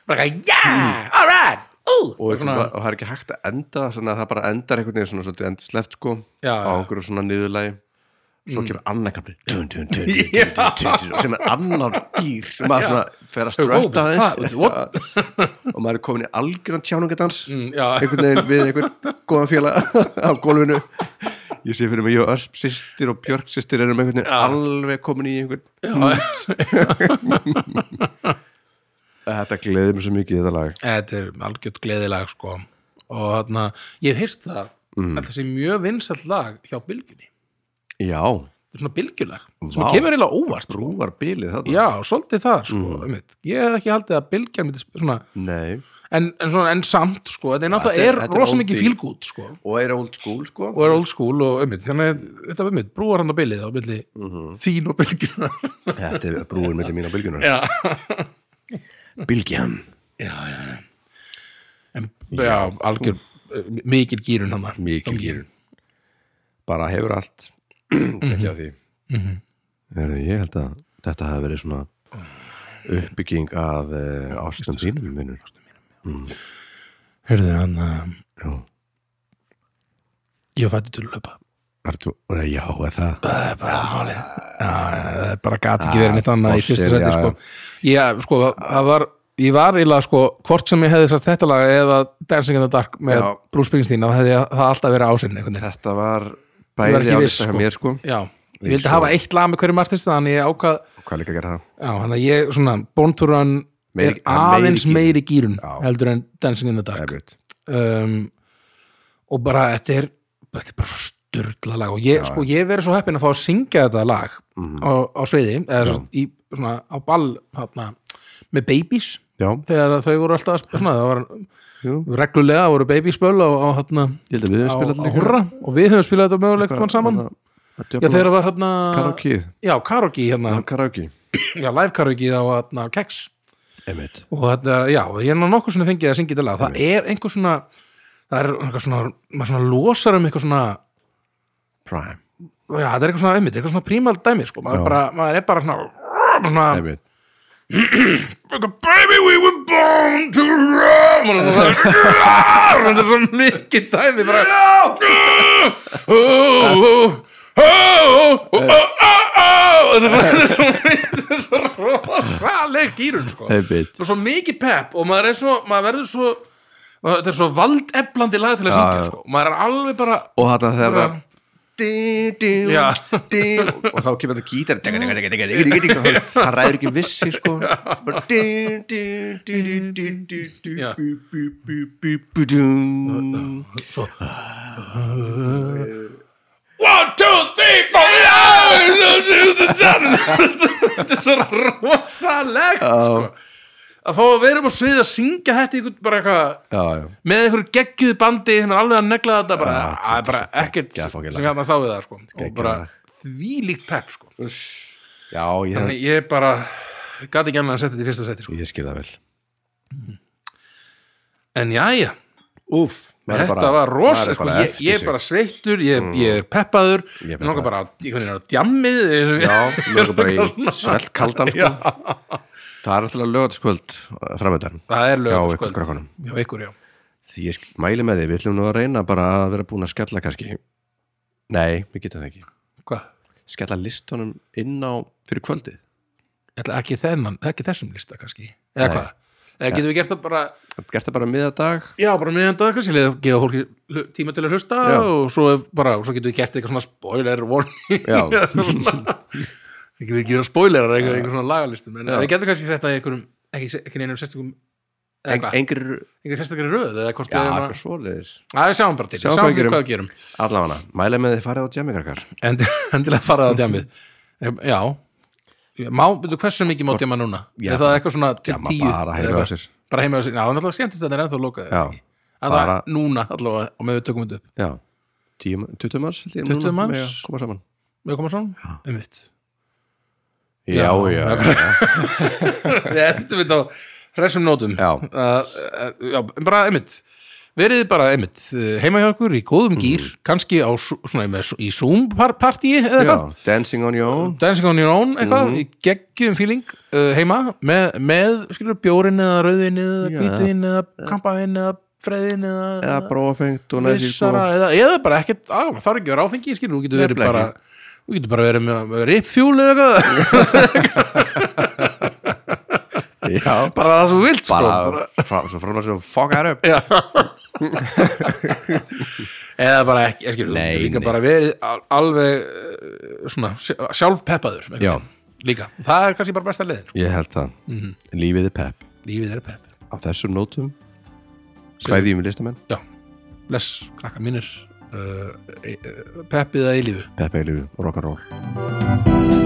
[SPEAKER 2] Bara ekki, yeah, all right, ú
[SPEAKER 1] og, svona... og það er ekki hægt að enda svona, að það bara endar einhvern veginn svona svolítið endisleft sko
[SPEAKER 2] Já,
[SPEAKER 1] á
[SPEAKER 2] já.
[SPEAKER 1] einhverju svona niðurlægi svo kemur annar kapli Dun, dun, dun, dun,
[SPEAKER 2] Já.
[SPEAKER 1] dun, dun, dun, dun, sem er annar ír og maður svona fer að strötta
[SPEAKER 2] Hvað?
[SPEAKER 1] þess og maður er komin í algjöran tjáningadans
[SPEAKER 2] Mm, Já,
[SPEAKER 1] einhvern veginn við einhvern góðan félag á gólfinu ég sé fyrir mig, ég og Ösp sýstir og Björk sýstir erum einhvern veginn alveg komin í einhvern
[SPEAKER 2] já,
[SPEAKER 1] þetta gleður mér svo mikið þetta lag
[SPEAKER 2] þetta er algjört gleðilag sko og þarna, ég hef heyrt það mm. að það sé mjög vinsall lag hjá bylgjunni þetta
[SPEAKER 1] já,
[SPEAKER 2] er svona bylgjulag sem
[SPEAKER 1] Vá.
[SPEAKER 2] kemur eiginlega óvart sko.
[SPEAKER 1] brúar bilið þetta
[SPEAKER 2] já, svolítið það sko,
[SPEAKER 1] Mm.
[SPEAKER 2] einmitt. ég hef ekki haldið að bylgjan myndi sp- svona,
[SPEAKER 1] nei
[SPEAKER 2] en, en, svona, en samt sko, þetta er
[SPEAKER 1] þetta er-
[SPEAKER 2] náttúrulega er,
[SPEAKER 1] þetta
[SPEAKER 2] er
[SPEAKER 1] er
[SPEAKER 2] rosa
[SPEAKER 1] oldie.
[SPEAKER 2] mikið fílgút sko,
[SPEAKER 1] og er old school sko
[SPEAKER 2] og er old school og einmitt, þannig að þetta er einmitt, brúar hann á bylið á bylli
[SPEAKER 1] Mhm.
[SPEAKER 2] þín og bylgjuna
[SPEAKER 1] Þetta er brúin mellum mín og bylgjunar
[SPEAKER 2] já,
[SPEAKER 1] Bylgjan
[SPEAKER 2] en, já, algjör eh, mikil gýrun hann þar.
[SPEAKER 1] Mikil gírun. Bara hefur allt Tekja á því
[SPEAKER 2] Mhm.
[SPEAKER 1] Herðu, Ég held að þetta hafi verið svona uppbygging að uh, ástum sínum minnur
[SPEAKER 2] Hörðu, hann uh,
[SPEAKER 1] Já,
[SPEAKER 2] ég fætti til að löpa
[SPEAKER 1] Ertu, já er það
[SPEAKER 2] það er bara málið Já, það er bara gati ekki verið neitt annað í
[SPEAKER 1] bossinn,
[SPEAKER 2] fyrstu
[SPEAKER 1] já,
[SPEAKER 2] sæti sko. ég sko, það var ég var eiginlega sko, hvort sem ég hefði sagt þetta lag eða Dancing in the Dark með
[SPEAKER 1] Já.
[SPEAKER 2] Bruce Springsteen, þá hefði ég- það alltaf verið ásinn einhvern veginn,
[SPEAKER 1] Þetta var
[SPEAKER 2] Ég var
[SPEAKER 1] bæði
[SPEAKER 2] ekki
[SPEAKER 1] á
[SPEAKER 2] viss,
[SPEAKER 1] lista hjá
[SPEAKER 2] sko.
[SPEAKER 1] mér sko
[SPEAKER 2] já ég
[SPEAKER 1] Ég
[SPEAKER 2] vildi
[SPEAKER 1] svo-
[SPEAKER 2] hafa eitt lag með hverjum artist þannig ég ákvað,
[SPEAKER 1] Hvað er líka að gera það?
[SPEAKER 2] já, þannig að ég svona Born to Run er
[SPEAKER 1] Meiri- meiri
[SPEAKER 2] aðeins
[SPEAKER 1] gírun.
[SPEAKER 2] meiri gýrun
[SPEAKER 1] Já.
[SPEAKER 2] heldur en Dancing in the Dark
[SPEAKER 1] Ebbert.
[SPEAKER 2] um, og bara þetta er, þetta er bara svo styrla lag og ég, sko, ég hef verið svo heppin að fá að syngja þetta lag
[SPEAKER 1] Mhm.
[SPEAKER 2] á, á sviði eða svo, í, svona, á ball hátna, með babies
[SPEAKER 1] Já,
[SPEAKER 2] þegar þau voru alltaf að sp- svona, það var,
[SPEAKER 1] Jú.
[SPEAKER 2] reglulega voru babiesböl á, á, hátna,
[SPEAKER 1] ég held að við
[SPEAKER 2] á,
[SPEAKER 1] höfum spilað
[SPEAKER 2] á hurra og við höfum spilað þetta mögulegt mann saman já, þegar það var hérna
[SPEAKER 1] Karaokið.
[SPEAKER 2] já, karaoke hérna,
[SPEAKER 1] Karaoki
[SPEAKER 2] já, live karaoke á hérna, keks
[SPEAKER 1] Emmett
[SPEAKER 2] og þetta, já, ég er nú nokkuð svona fengið að syngja þetta lag, það er einhver svona það er einhver svona, maður svona losar um eitthvað svona,
[SPEAKER 1] Prime
[SPEAKER 2] já, það er eitthvað svona einmitt, eitthvað svona prímal dæmi, sko, maður,
[SPEAKER 1] Já.
[SPEAKER 2] bara, maður er bara svona, svona
[SPEAKER 1] Emmett
[SPEAKER 2] eitthvað, baby we were born to run og það er þetta er svo mikið dæmi bara Ó, ó, ó, ó, ó, ó, ó. þetta er svo- þetta er svo þetta er svo rosaleg gýrun, sko
[SPEAKER 1] Emmett
[SPEAKER 2] Það er svo mikið pepp og maður er svo, maður verður svo þetta er svo valdeflandi lag til að
[SPEAKER 1] Já,
[SPEAKER 2] syngja
[SPEAKER 1] já.
[SPEAKER 2] sko. maður er alveg bara
[SPEAKER 1] Og þarna þegar
[SPEAKER 2] Já.
[SPEAKER 1] það Dí, dí,
[SPEAKER 2] Já.
[SPEAKER 1] dí, og þá kemur þetta gítar digga, digga, digga, digga, digga, digga, digga, það ræður ekki vissi sko Bara dí, dí, dí, dí, dí, dí, dí,
[SPEAKER 2] Já.
[SPEAKER 1] bú, bú, bú, bú, bú, dú.
[SPEAKER 2] svo
[SPEAKER 1] Ah.
[SPEAKER 2] "Uh, One, two, three, four Ah! yeah! Þetta er svo rosalegt sko. að fá að vera upp á sviði að syngja þetta ykkur bara eitthvað
[SPEAKER 1] já, já,
[SPEAKER 2] með einhverju geggjuðu bandi sem er alveg að negla þetta bara,
[SPEAKER 1] Já,
[SPEAKER 2] það er bara ekkert
[SPEAKER 1] geggjað fokkilega.
[SPEAKER 2] sem hann sá við það sko og
[SPEAKER 1] Geggjað
[SPEAKER 2] bara
[SPEAKER 1] lag.
[SPEAKER 2] þvílíkt pepp sko
[SPEAKER 1] já ég,
[SPEAKER 2] þannig ég bara gati ekki annað að setja þetta í fyrsta seti sko.
[SPEAKER 1] ég skil það vel
[SPEAKER 2] en jæja,
[SPEAKER 1] Úf,
[SPEAKER 2] þetta var rosa sko. ég,
[SPEAKER 1] eftir
[SPEAKER 2] ég er
[SPEAKER 1] sig. Mm.
[SPEAKER 2] bara sveittur, ég, ég er peppaður
[SPEAKER 1] Ég er
[SPEAKER 2] ég langar
[SPEAKER 1] peppaður.
[SPEAKER 2] bara að- einhvern veginn á djammið
[SPEAKER 1] Já, mjög bara í
[SPEAKER 2] Svona.
[SPEAKER 1] svelt kaldan sko. Það er alltaf eh, lögataskvöld framöndan
[SPEAKER 2] það er
[SPEAKER 1] Já, ykkur
[SPEAKER 2] lögataskvöld
[SPEAKER 1] krökkunum.
[SPEAKER 2] já, ykkur, já
[SPEAKER 1] Því ég sk- mæli með því, við ætlum nú að reyna bara að vera búin að skella kannski Nei, við getum það ekki
[SPEAKER 2] hvað?
[SPEAKER 1] Skella listunum inn á fyrir kvöldið
[SPEAKER 2] ætla ekki, þennan, ekki þessum lista kannski eða
[SPEAKER 1] Nei.
[SPEAKER 2] hvað, eða getum við gert það bara
[SPEAKER 1] Gert það bara um miðadag
[SPEAKER 2] já, bara meðan dag kannski, eða gefa fólki hlu- tíma til að hlusta
[SPEAKER 1] Já.
[SPEAKER 2] og svo, ef- bara, og svo getum við gert eitthvað svona spoiler warning
[SPEAKER 1] Já.
[SPEAKER 2] eða svona. við getum við gera spoilerar eitthvað, eitthvað svona lagalistum en
[SPEAKER 1] Já.
[SPEAKER 2] við getum kannski sett það í einhverjum ekki, se- ekki neinum sérstakum eða
[SPEAKER 1] Eng,
[SPEAKER 2] hvað,
[SPEAKER 1] Engir,
[SPEAKER 2] einhver sérstakari röð eða hvort
[SPEAKER 1] já,
[SPEAKER 2] við erum
[SPEAKER 1] eitthvað
[SPEAKER 2] að,
[SPEAKER 1] svoleiðis
[SPEAKER 2] að við sjáum bara til,
[SPEAKER 1] Sjáum
[SPEAKER 2] sjáum
[SPEAKER 1] hvað við
[SPEAKER 2] við hvað við gerum
[SPEAKER 1] Allavega, mæli með því farið á djamikarkar
[SPEAKER 2] Endi- endilega farað á djamið já Má, veitu, hversu mikið má djama núna?
[SPEAKER 1] Já.
[SPEAKER 2] er það eitthvað svona til
[SPEAKER 1] Djama
[SPEAKER 2] tíu?
[SPEAKER 1] bara
[SPEAKER 2] eða
[SPEAKER 1] heima
[SPEAKER 2] eitthvað?
[SPEAKER 1] á sér.
[SPEAKER 2] Bara heima á sér, já, en alltaf skemmtist þetta er ennþá lokað
[SPEAKER 1] Já,
[SPEAKER 2] eða ekki? Að það
[SPEAKER 1] bara-
[SPEAKER 2] er núna allavega og með við tökum þetta upp
[SPEAKER 1] Já, 10 20 manns held ég
[SPEAKER 2] 20
[SPEAKER 1] núna
[SPEAKER 2] manns?
[SPEAKER 1] mega Koma saman
[SPEAKER 2] Við komum svona, um mitt
[SPEAKER 1] Já, já, já,
[SPEAKER 2] Við endum þetta á hressum nótum
[SPEAKER 1] Já.
[SPEAKER 2] uh, uh, já bara um mitt Verið bara einmitt uh, heima hjá okkur í góðum gýr, kannski á, s- svona, með, s- í Zoom-partíi eða
[SPEAKER 1] Mm. já.
[SPEAKER 2] eitthvað
[SPEAKER 1] Dancing on your own
[SPEAKER 2] Dancing on your own,
[SPEAKER 1] Mhm.
[SPEAKER 2] eitthvað, í geggjum feeling uh, heima, með, með skilur, bjórin eða rauðin eða
[SPEAKER 1] Já.
[SPEAKER 2] hvítin eða kampaðin eða freðin eða,
[SPEAKER 1] Eða brófengt og næsir
[SPEAKER 2] vissara eða, eða bara ekkert, á, það er ekki að vera áfengi skilur, þú getur verið
[SPEAKER 1] Nefnilega
[SPEAKER 2] bara þú getur bara verið með, með ripfjúl eða eitthvað
[SPEAKER 1] Já,
[SPEAKER 2] bara það sem þú vilt sko
[SPEAKER 1] bara, frá, svo framlega svo fuck that up
[SPEAKER 2] Já. eða bara ekki, skilur, þú
[SPEAKER 1] Nei,
[SPEAKER 2] getur líka
[SPEAKER 1] nei.
[SPEAKER 2] bara verið al- alveg eh, svona sjálf- sjálfpeppaður einhvern
[SPEAKER 1] Já.
[SPEAKER 2] veginn. líka, það er kannski bara besta leiðin sko.
[SPEAKER 1] ég held það, lífið er pepp
[SPEAKER 2] lífið er
[SPEAKER 1] á
[SPEAKER 2] pepp
[SPEAKER 1] þessum nótum hvæðjum við listamenn,
[SPEAKER 2] Já, bless, krakka Øh, mínir uh, e- e- Peppið að eilífu
[SPEAKER 1] pepp er lífið og rock'n'roll
[SPEAKER 4] Thank